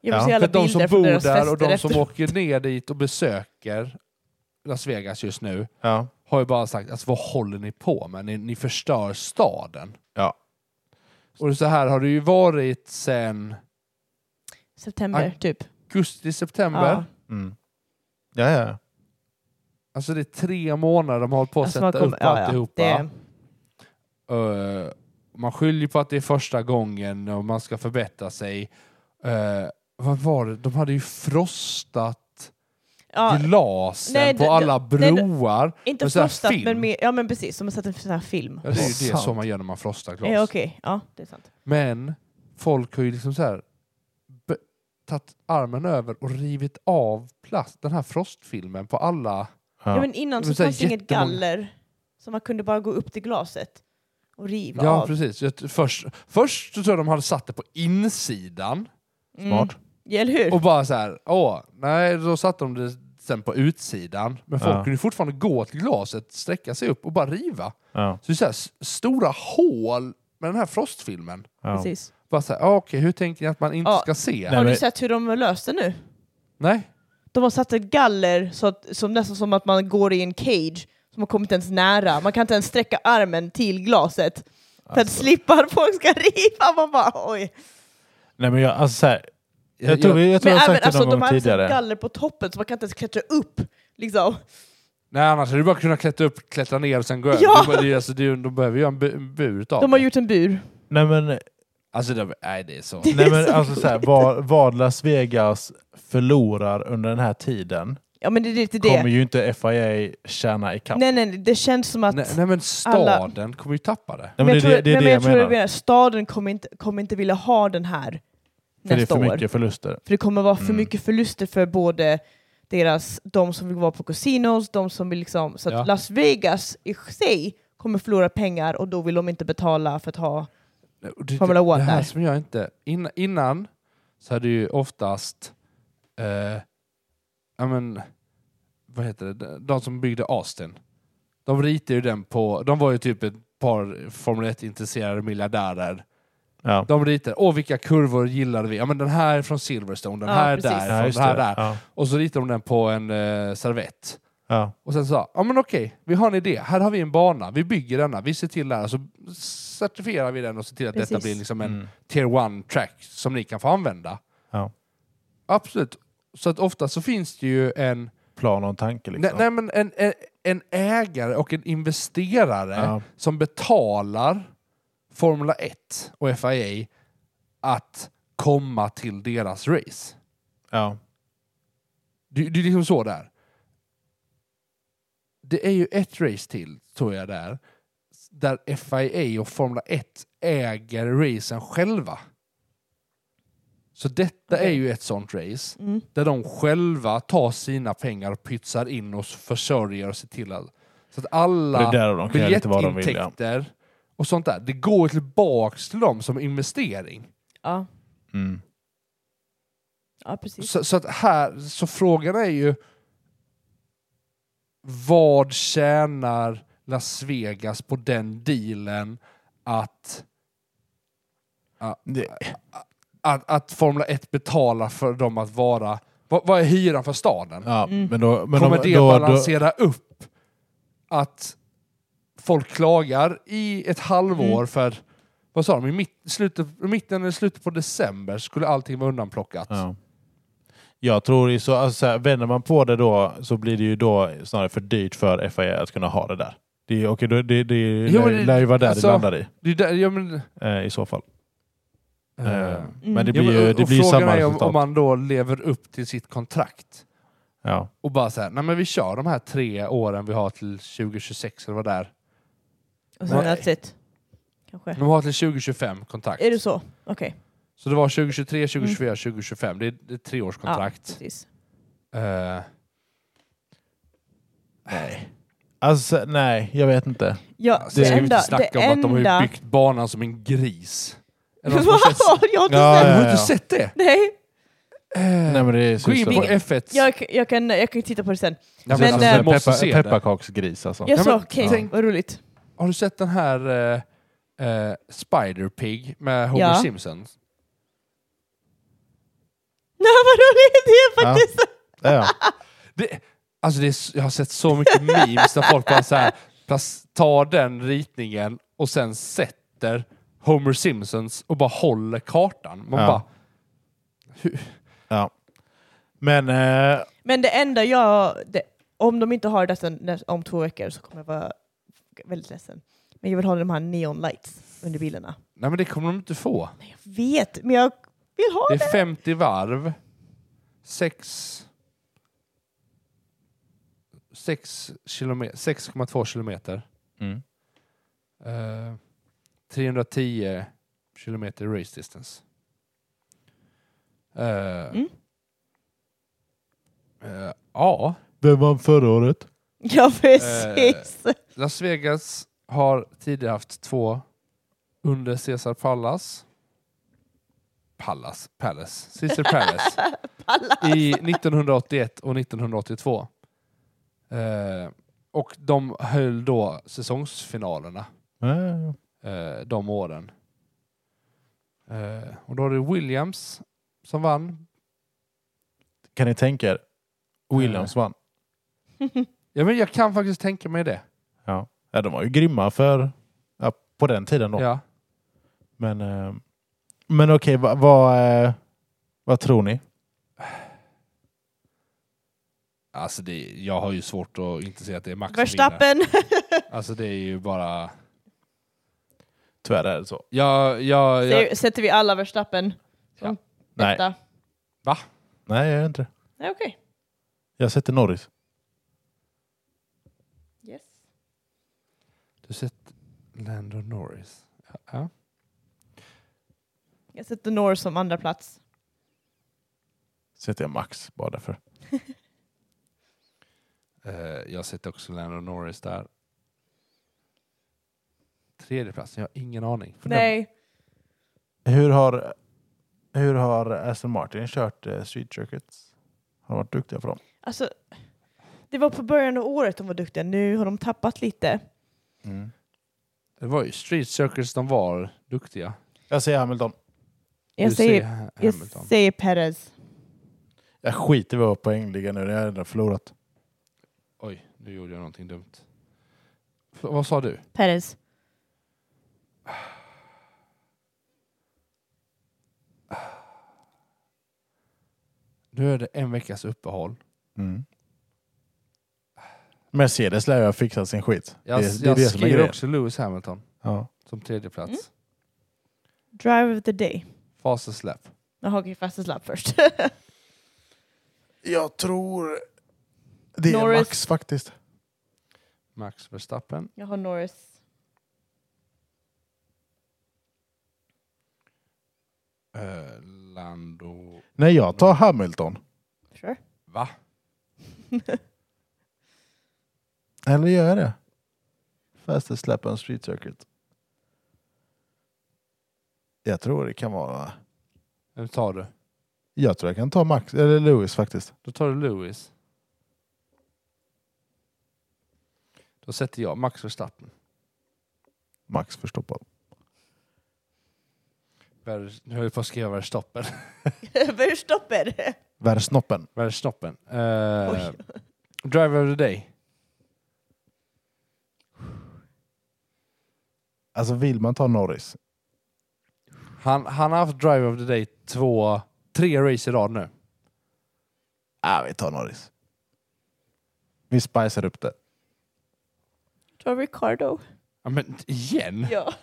Jag vill
Ja.
se alla
för de som
bilder från
bor
deras
där och
fester
de
efter.
som åker ner dit och besöker Las Vegas just nu
Ja.
har ju bara sagt alltså, vad håller ni på med? Ni, ni förstör staden.
Ja.
Och så här har det ju varit sen
September,
Aj.
typ.
augusti, september.
Ja.
Mm. Ja, ja.
Alltså det är tre månader de har hållit på att
Alltså, man
sätta
kommer-
upp
ja, ja,
alltihopa.
det-
Eh, man skyller på att det är första gången och man ska förbättra sig. Eh, vad var det? De hade ju frostat
ja,
glasen
Nej,
på
det-
alla
nej, det-
broar.
inte
men så här
frostat,
film.
men mer, ja men precis, som att sätta en sån här film.
Ja, det är ju det
Sant.
som man gör när man frostar glas.
Eh, Okej, ja det är sant.
Men folk har ju liksom så här b- tagit armen över och rivit av plast, den här frostfilmen på alla.
Ja.
ja.
men innan
Det
så
var så här
fanns det inget
jättemånga-
galler, så man kunde bara gå upp till glaset och riva
Ja,
av.
precis. Jag t- Först, först så tror jag de hade satt det på insidan
Smart.
Mm. Ja, eller hur?
och bara så här, åh, nej, då satte de det sen på utsidan. Men folk
Ja.
kunde ju fortfarande gå till glaset, sträcka sig upp och bara riva.
Ja.
Så det är så här, s- stora hål med den här frostfilmen.
Ja.
Precis.
Bara så här, ah, okej, hur tänker ni att man inte
Ja.
ska se?
Nej,
Har du
men-
sett hur de har löst det nu?
nej.
De har satt ett galler så att, som nästan som att man går i en cage som har kommit ens nära. Man kan inte ens sträcka armen till glaset för
Alltså.
att slippa att folk ska riva. Man bara oj.
Nej, men jag, alltså, så här,
Jag-
jag tror jag, tror jag har
även, alltså,
sagt det någon
de
gång
hade
tidigare.
satt galler på toppen så man kan inte ens klättra upp. Liksom.
Nej, annars hade du bara kunnat klättra upp, klättra ner och sen gå över.
Ja.
De, bara- det är- alltså, det är ju- de behöver ju en bu- en bur utav
De har
det.
gjort en bur.
Nej, men
Alltså, de, nej, det är så.
Det-
Nej
är
men
så
alltså så här,
sjukt.
vad, vad Las Vegas förlorar under den här tiden
Ja men det är lite
kommer
det.
ju inte FIA tjäna ikapp.
Nej nej, det känns som att...
Nej, nej, men staden kommer ju tappa det.
Nej, men det,
jag
är det,
tror,
det är
men
det
jag
jag
tror det är
menar.
det. Staden kommer inte, kommer inte vilja ha den här
För det är
nästa
för
år.
mycket förluster.
För det kommer vara för
Mm.
mycket förluster för både deras, de som vill vara på casinos, de som vill liksom... Så att
Ja.
Las Vegas i sig kommer förlora pengar och då vill de inte betala för att ha...
Och det,
Formula
det,
One
det här
där.
som jag inte... Innan, innan så hade ju oftast... Eh, ja, men, vad heter det? De som byggde Austin. De ritade ju den på... De var ju typ ett par Formel 1-intresserade miljardärer.
Ja.
De ritade. Åh, vilka kurvor gillade vi? Ja, men den här är från Silverstone, den
Ja,
här är
precis.
Ja,
därifrån,
just
den här
det.
där.
Ja.
Och så ritade de den på en eh, servett.
Ja.
Och sen sa ja men okej, vi har en idé. Här har vi en bana, vi bygger denna, vi ser till det här. Så certifierar vi den och ser till att detta
Precis.
blir liksom en
Mm.
tier one track som ni kan få använda.
Ja.
Absolut. Så att ofta så finns det ju en,
Plan och en tanke liksom.
nej, nej, men en, en, en ägare och en investerare
Ja.
som betalar Formula 1 och FIA att komma till deras race.
Ja.
Det, det är liksom så där. Det är ju ett race till, tror jag där, där FIA och Formula 1 äger racen själva. Så detta är
Okej.
ju ett sånt race,
Mm.
där de själva tar sina pengar och pytsar in och försörjer och ser till att... Så att alla
Det är där de kan göra lite vad de vill. Ja.
biljettintäkter och sånt där, det går tillbaks till dem som investering.
Ja,
Mm.
ja precis.
Så, så att här, så frågan är ju vad tjänar Las Vegas på den dealen att,
Det,
att, att Formula 1 betalar för dem att vara... Vad, vad är hyran för staden?
ja.
Mm.
Men då, men
Kommer
om-
det
då, då,
balansera upp att folk klagar i ett halvår
Mm.
för... Vad sa de? I mitt, slutet, i mitten eller slutet på december skulle allting vara undanplockat.
ja. Jag tror ju så, alltså, så här, vänder man på det då så blir det ju då snarare för dyrt för FIA att kunna ha det där. Det, är- okej, då- det, det,
Jo, men
lär-
det-
lär ju vara där
alltså-
det landar i,
Det är där, ja, men,
eh, i så fall. Eh,
eh,
Men det blir
Ja,
ju
men, och-
det
och
blir ju
frågan
samma
är om,
resultat.
om man då lever upp till sitt kontrakt.
Ja.
och bara så här, nej men vi kör de här tre åren vi har till 2026 eller vad det är.
Och sen
Nej.
that's it. Kanske.
De har till 2025 kontrakt.
Är det Mm. så? Okej,
Så det var 2023, 2024, 2025. Det är, det är ett treårskontrakt.
precis.
Eh,
Alltså nej, jag vet
Eh,
inte.
Ja, det
Sen Alltså, ska vi inte
enda...
snacka
Det
om att de har
enda...
ju byggt banan som en gris. Är det någon som har sett-
Vad? Jag har inte
Ja,
sett.
Har
ja.
du inte sett det?
Nej,
Nej, men det är
Gå in på F1.
jag, jag, kan, jag kan titta på det sen.
Ja,
men,
alltså,
eh,
jag måste se det.
pepparkaksgris alltså.
Jag
Ja,
sa
men
okej,
tänk-
vad roligt.
Har du sett den här eh, eh, Spider Pig med Homer
Ja.
Simpson?
Nej, vad roligt! Det är faktiskt...
Ja, ja.
Det, alltså det är, s- jag har sett så mycket memes där folk bara så här, plas- tar den ritningen och sen sätter Homer Simpsons och bara håller kartan. Man
Ja.
bara,
ja. Men eh,
Men det enda jag... Det, om de inte har detta nä- om två veckor så kommer jag vara väldigt ledsen. Men jag vill ha de här neon lights under bilarna.
nej men det kommer de inte få.
Nej, jag vet, men jag vill ha
Det
det.
är 50 varv, sex- sex kilome- 6,2 kilometer,
mm.
eh, 310 kilometer race distance. Eh,
Mm.
eh, ja.
vem vann förra året?
Ja,
Eh,
precis.
Las Vegas har tidigare haft två under Caesar Palace. Palace, Palace, Caesar Palace i 1981 och 1982. Eh, och de höll då säsongsfinalerna
Eh,
eh, de åren. Eh, och då har du Williams som vann.
Kan ni tänka er? Williams
Eh.
vann.
Ja, men jag kan faktiskt tänka mig det.
Ja. ja, de var ju grymma för ja, på den tiden då.
Ja.
Men, eh, men okej, vad vad, eh, vad tror ni?
Alltså det, jag har ju svårt att inte se att det är Max som vinner.
Verstappen.
Alltså det är ju bara...
Tyvärr är det så.
Jag, jag, jag,
Ser- Sätter vi alla Verstappen? Som
Nej.
Detta.
Nej, jag gör inte det.
Nej, okej.
Jag sätter Norris.
Yes.
du sett Lando Norris? Ja.
Jag sätter Norris som andra plats.
Sätter jag Max bara därför.
Eh, jag sätter också Lando Norris där. Tredje platsen, jag har ingen aning.
För
Nej,
Hur har, hur har Aston Martin kört eh, Street Circuits? Har de varit duktiga på dem?
alltså. Det var på början av året de var duktiga. Nu har de tappat lite.
Mm. Det var ju Street Circus de var duktiga.
Jag säger Hamilton.
Jag
Du
säger, jag
Hamilton.
säger Perez.
Jag skiter i vad jag har poängliga nu. Jag har redan förlorat.
Oj, nu gjorde jag någonting dumt. F- vad sa du?
Perez.
Nu är det en veckas uppehåll. Mm.
Mercedes lär ju ha fixat sin skit.
Jag,
det, det är
jag
det som är
skriver
grejen.
också Lewis Hamilton
Ja.
som tredje plats.
Mm. Drive of the day.
Fastest lap.
Jaha, okej, fastest lapp först.
Jag tror det är
Norris.
Max faktiskt.
Max Verstappen.
jag har Norris.
Eh, Lando...
Nej, jag tar Hamilton.
Sure.
Va?
Eller gör jag det? Fastest lap on street circuit. Jag tror det kan vara...
Vem tar du?
Jag tror jag kan ta Max, eller Lewis faktiskt.
Då tar du Lewis. Då sätter jag Max Verstappen.
Max förstoppad.
Ver- Nu höll jag på att skriva Verstappen.
Eh.
Verstopper.
Världsnoppen.
Verstappen. Uh,
Oj.
driver of the day.
Alltså vill man ta Norris?
Han, han har haft driver of the day två, tre race i rad nu.
Ja, vi tar Norris. Vi spicar upp det.
Tar Ricardo.
Ja, men igen?
Ja.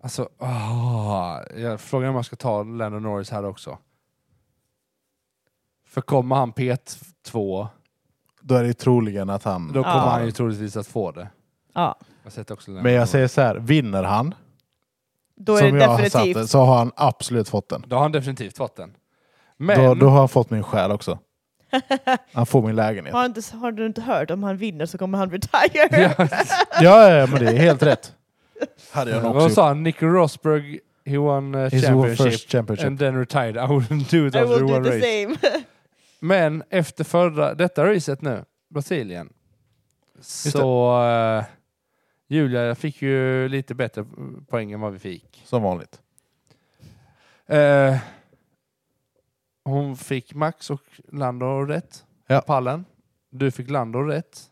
Alltså, åh, jag frågar om jag ska ta Lando Norris här också. För kommer han P2,
Mm. Då är det troligen att han...
då kommer
Ja.
han ju troligtvis att få det.
Ja,
Jag sätter också den.
Men jag säger så här, vinner han,
då är
som
det
jag har satt
definitivt.
det, så har han absolut fått den.
Då har han definitivt fått den. Men,
Då, då har han fått min själ också. Han får min lägenhet.
Har, inte, har du inte hört? Om han vinner så kommer han retire.
Ja, ja, men det är helt rätt. Hade jag nog också
vad
gjort.
sa han? Nick Rosberg, he won uh,
His
championship.
first championship.
And then retired. I wouldn't do it
I
after
will do
one
the
race.
same.
Men efter förra, detta racet nu, Brasilien, så eh, Julia fick ju lite bättre poäng än vad vi fick.
Som vanligt.
Eh, hon fick Max och Lando rätt.
Ja.
Pallen. Du fick Lando rätt.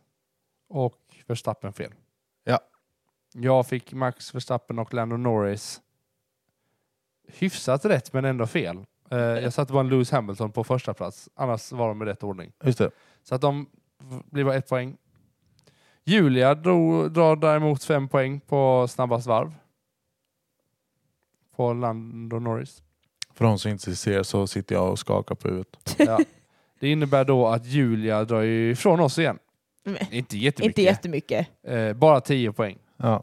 Och Verstappen fel.
Ja.
Jag fick Max Verstappen och Lando Norris hyfsat rätt men ändå fel. Eh, jag satte bara en Lewis Hamilton på första plats. Annars var de i rätt ordning.
Just det.
Så att de blir bara ett poäng. Julia drog, drar däremot fem poäng på snabbast varv. På Lando Norris.
För de som inte ser så sitter jag och skakar på huvudet.
Ja. Det innebär då att Julia drar ju ifrån oss igen.
Nej.
Inte jättemycket.
inte jättemycket.
eh, bara 10 poäng.
Ja.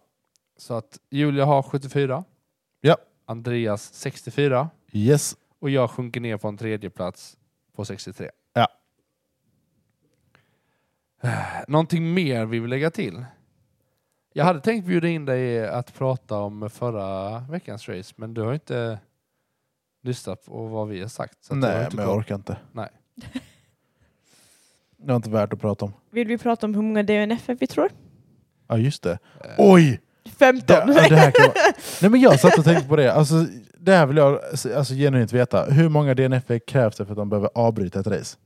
Så att Julia har 74.
Ja.
Andreas 64.
Yes.
Och jag sjunker ner på en tredje plats på 63.
Ja.
Eh, Någonting mer vi vill lägga till? Jag hade tänkt bjuda in dig att prata om förra veckans race, men du har ju inte lyssnat på vad vi har sagt. så att du har
Nej,
inte
men jag
koll.
orkar inte.
Nej.
Det var inte värt att prata om.
Vill vi prata om hur många DNF vi tror?
Ja, just det.
Eh,
Oj!
15!
Det, ja, det här kan vara... Nej, men jag satt och tänkte på det. Alltså, det här vill jag alltså, genuint veta. Hur många DNF krävs det för att de behöver avbryta ett race?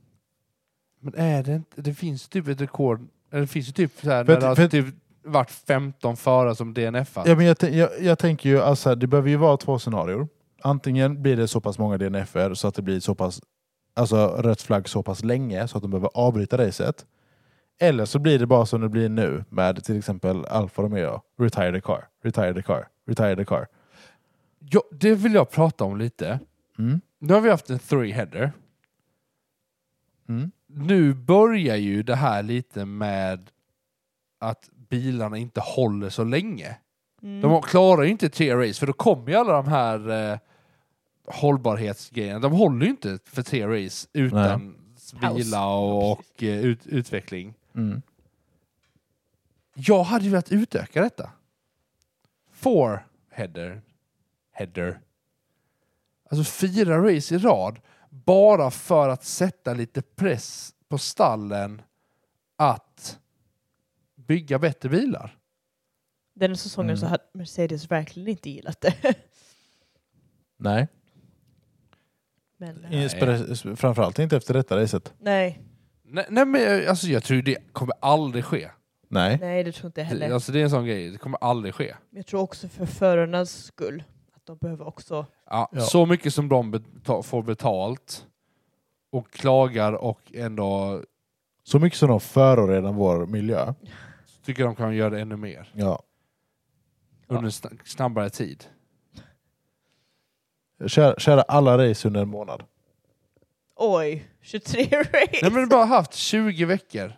Men är det inte, det finns typ ett rekord, eller det finns ju typ så här,
För
när
att-
det har
för att-
typ varit 15 förare som DNF
Ja, men jag, tän- jag, jag tänker ju alltså, det behöver ju vara två scenarier. Antingen blir det så pass många DNFer så att det blir så pass, alltså rött flagg så pass länge så att de behöver avbryta racet. Eller så blir det bara som det blir nu med till exempel Alfa Romeo. Retire the car, retire the car, retire the car.
ja, Det vill jag prata om lite.
Mm.
Nu har vi haft en three-header.
Mm.
nu börjar ju det här lite med att bilarna inte håller så länge.
Mm.
De klarar ju inte tre race, för då kommer ju alla de här eh, hållbarhetsgrejerna. De håller ju inte för tre race utan
Paus.
vila och, och eh, ut, utveckling.
Mm.
Jag hade ju velat utöka detta. Four header. Header. Alltså fyra race i rad. Bara för att sätta lite press på stallen att bygga bättre bilar.
Den säsongen så
Mm.
hade Mercedes verkligen inte gillat det.
Nej,
Men, eh,
Nej.
Inspira- framförallt inte efter detta racet.
nej,
Nej, nej men eh, alltså jag tror det kommer aldrig ske.
Nej.
nej, det tror inte jag
Det,
heller.
alltså det är en sån grej, det kommer aldrig ske.
Jag tror också för förarnas skull. Att de behöver också...
Ja,
Ja.
Så mycket som de beta- får betalt och klagar och ändå
Så mycket som de förorenar vår miljö.
tycker de kan göra ännu mer.
Ja.
under sn- snabbare tid.
Köra, köra alla race under en månad.
Oj, 23 race!
Nej men du bara haft 20 veckor.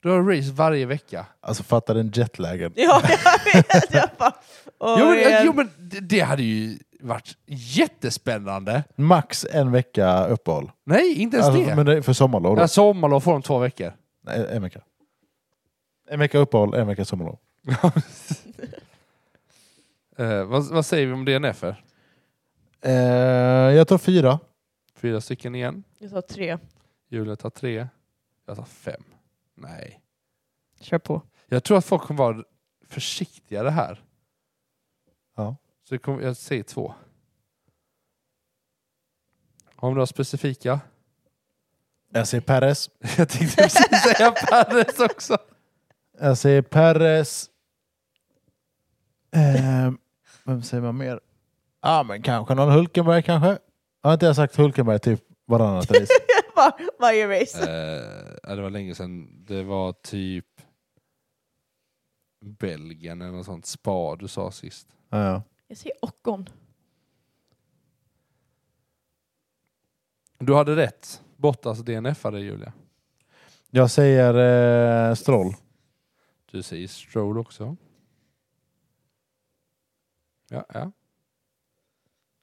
Du har race varje vecka.
Alltså fatta den jetlagen.
Ja, jag vet! Jag bara,
Jo men,
oj,
jo, men det- det hade ju varit jättespännande.
Max en vecka uppehåll.
Nej, inte ens
Alltså,
det.
men det är Alltså- för sommarlov då.
Ja, sommarlov får de två veckor.
Nej, en vecka. En vecka uppehåll, en vecka sommarlov.
Eh, vad, vad säger vi om E DNF? -er?
Eh, jag tar fyra.
Fyra stycken igen.
Jag sa tre.
Julia tar tre. Jag tar fem. Nej.
Kör på.
Jag tror att folk kommer vara försiktigare här.
Ja.
Så det kommer, jag säger två. Om du har specifika?
Jag säger Perez.
Jag tänkte precis säga Paris också.
Jag säger Perez. Eh, vem säger man mer? Ja, ah, men kanske någon Hulkenberg kanske? Har inte jag sagt Hulkenberg typ varannat race?
Var, varje race.
Eh, det var länge sedan. Det var typ Belgien eller något sånt. Spa du sa sist.
ja, ja.
Jag säger Ockon.
Du hade rätt. Bottas DNF-ade Julia.
Jag säger eh, Stroll.
Du säger Stroll också. Ja, ja.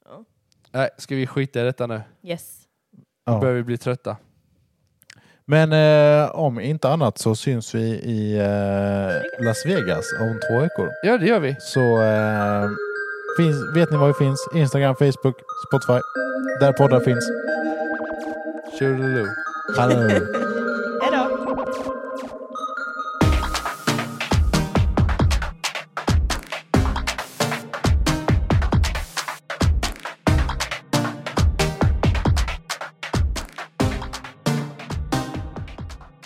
Ja.
Nej, ska vi skita i detta nu?
Yes.
Nu
Ja.
börjar vi bli trötta.
Men eh, om inte annat så syns vi i eh, Las Vegas om två veckor.
Ja, det gör vi.
Så eh, finns, vet ni var vi finns? Instagram, Facebook, Spotify. Där poddar finns.
Tjurululu.
Hallå.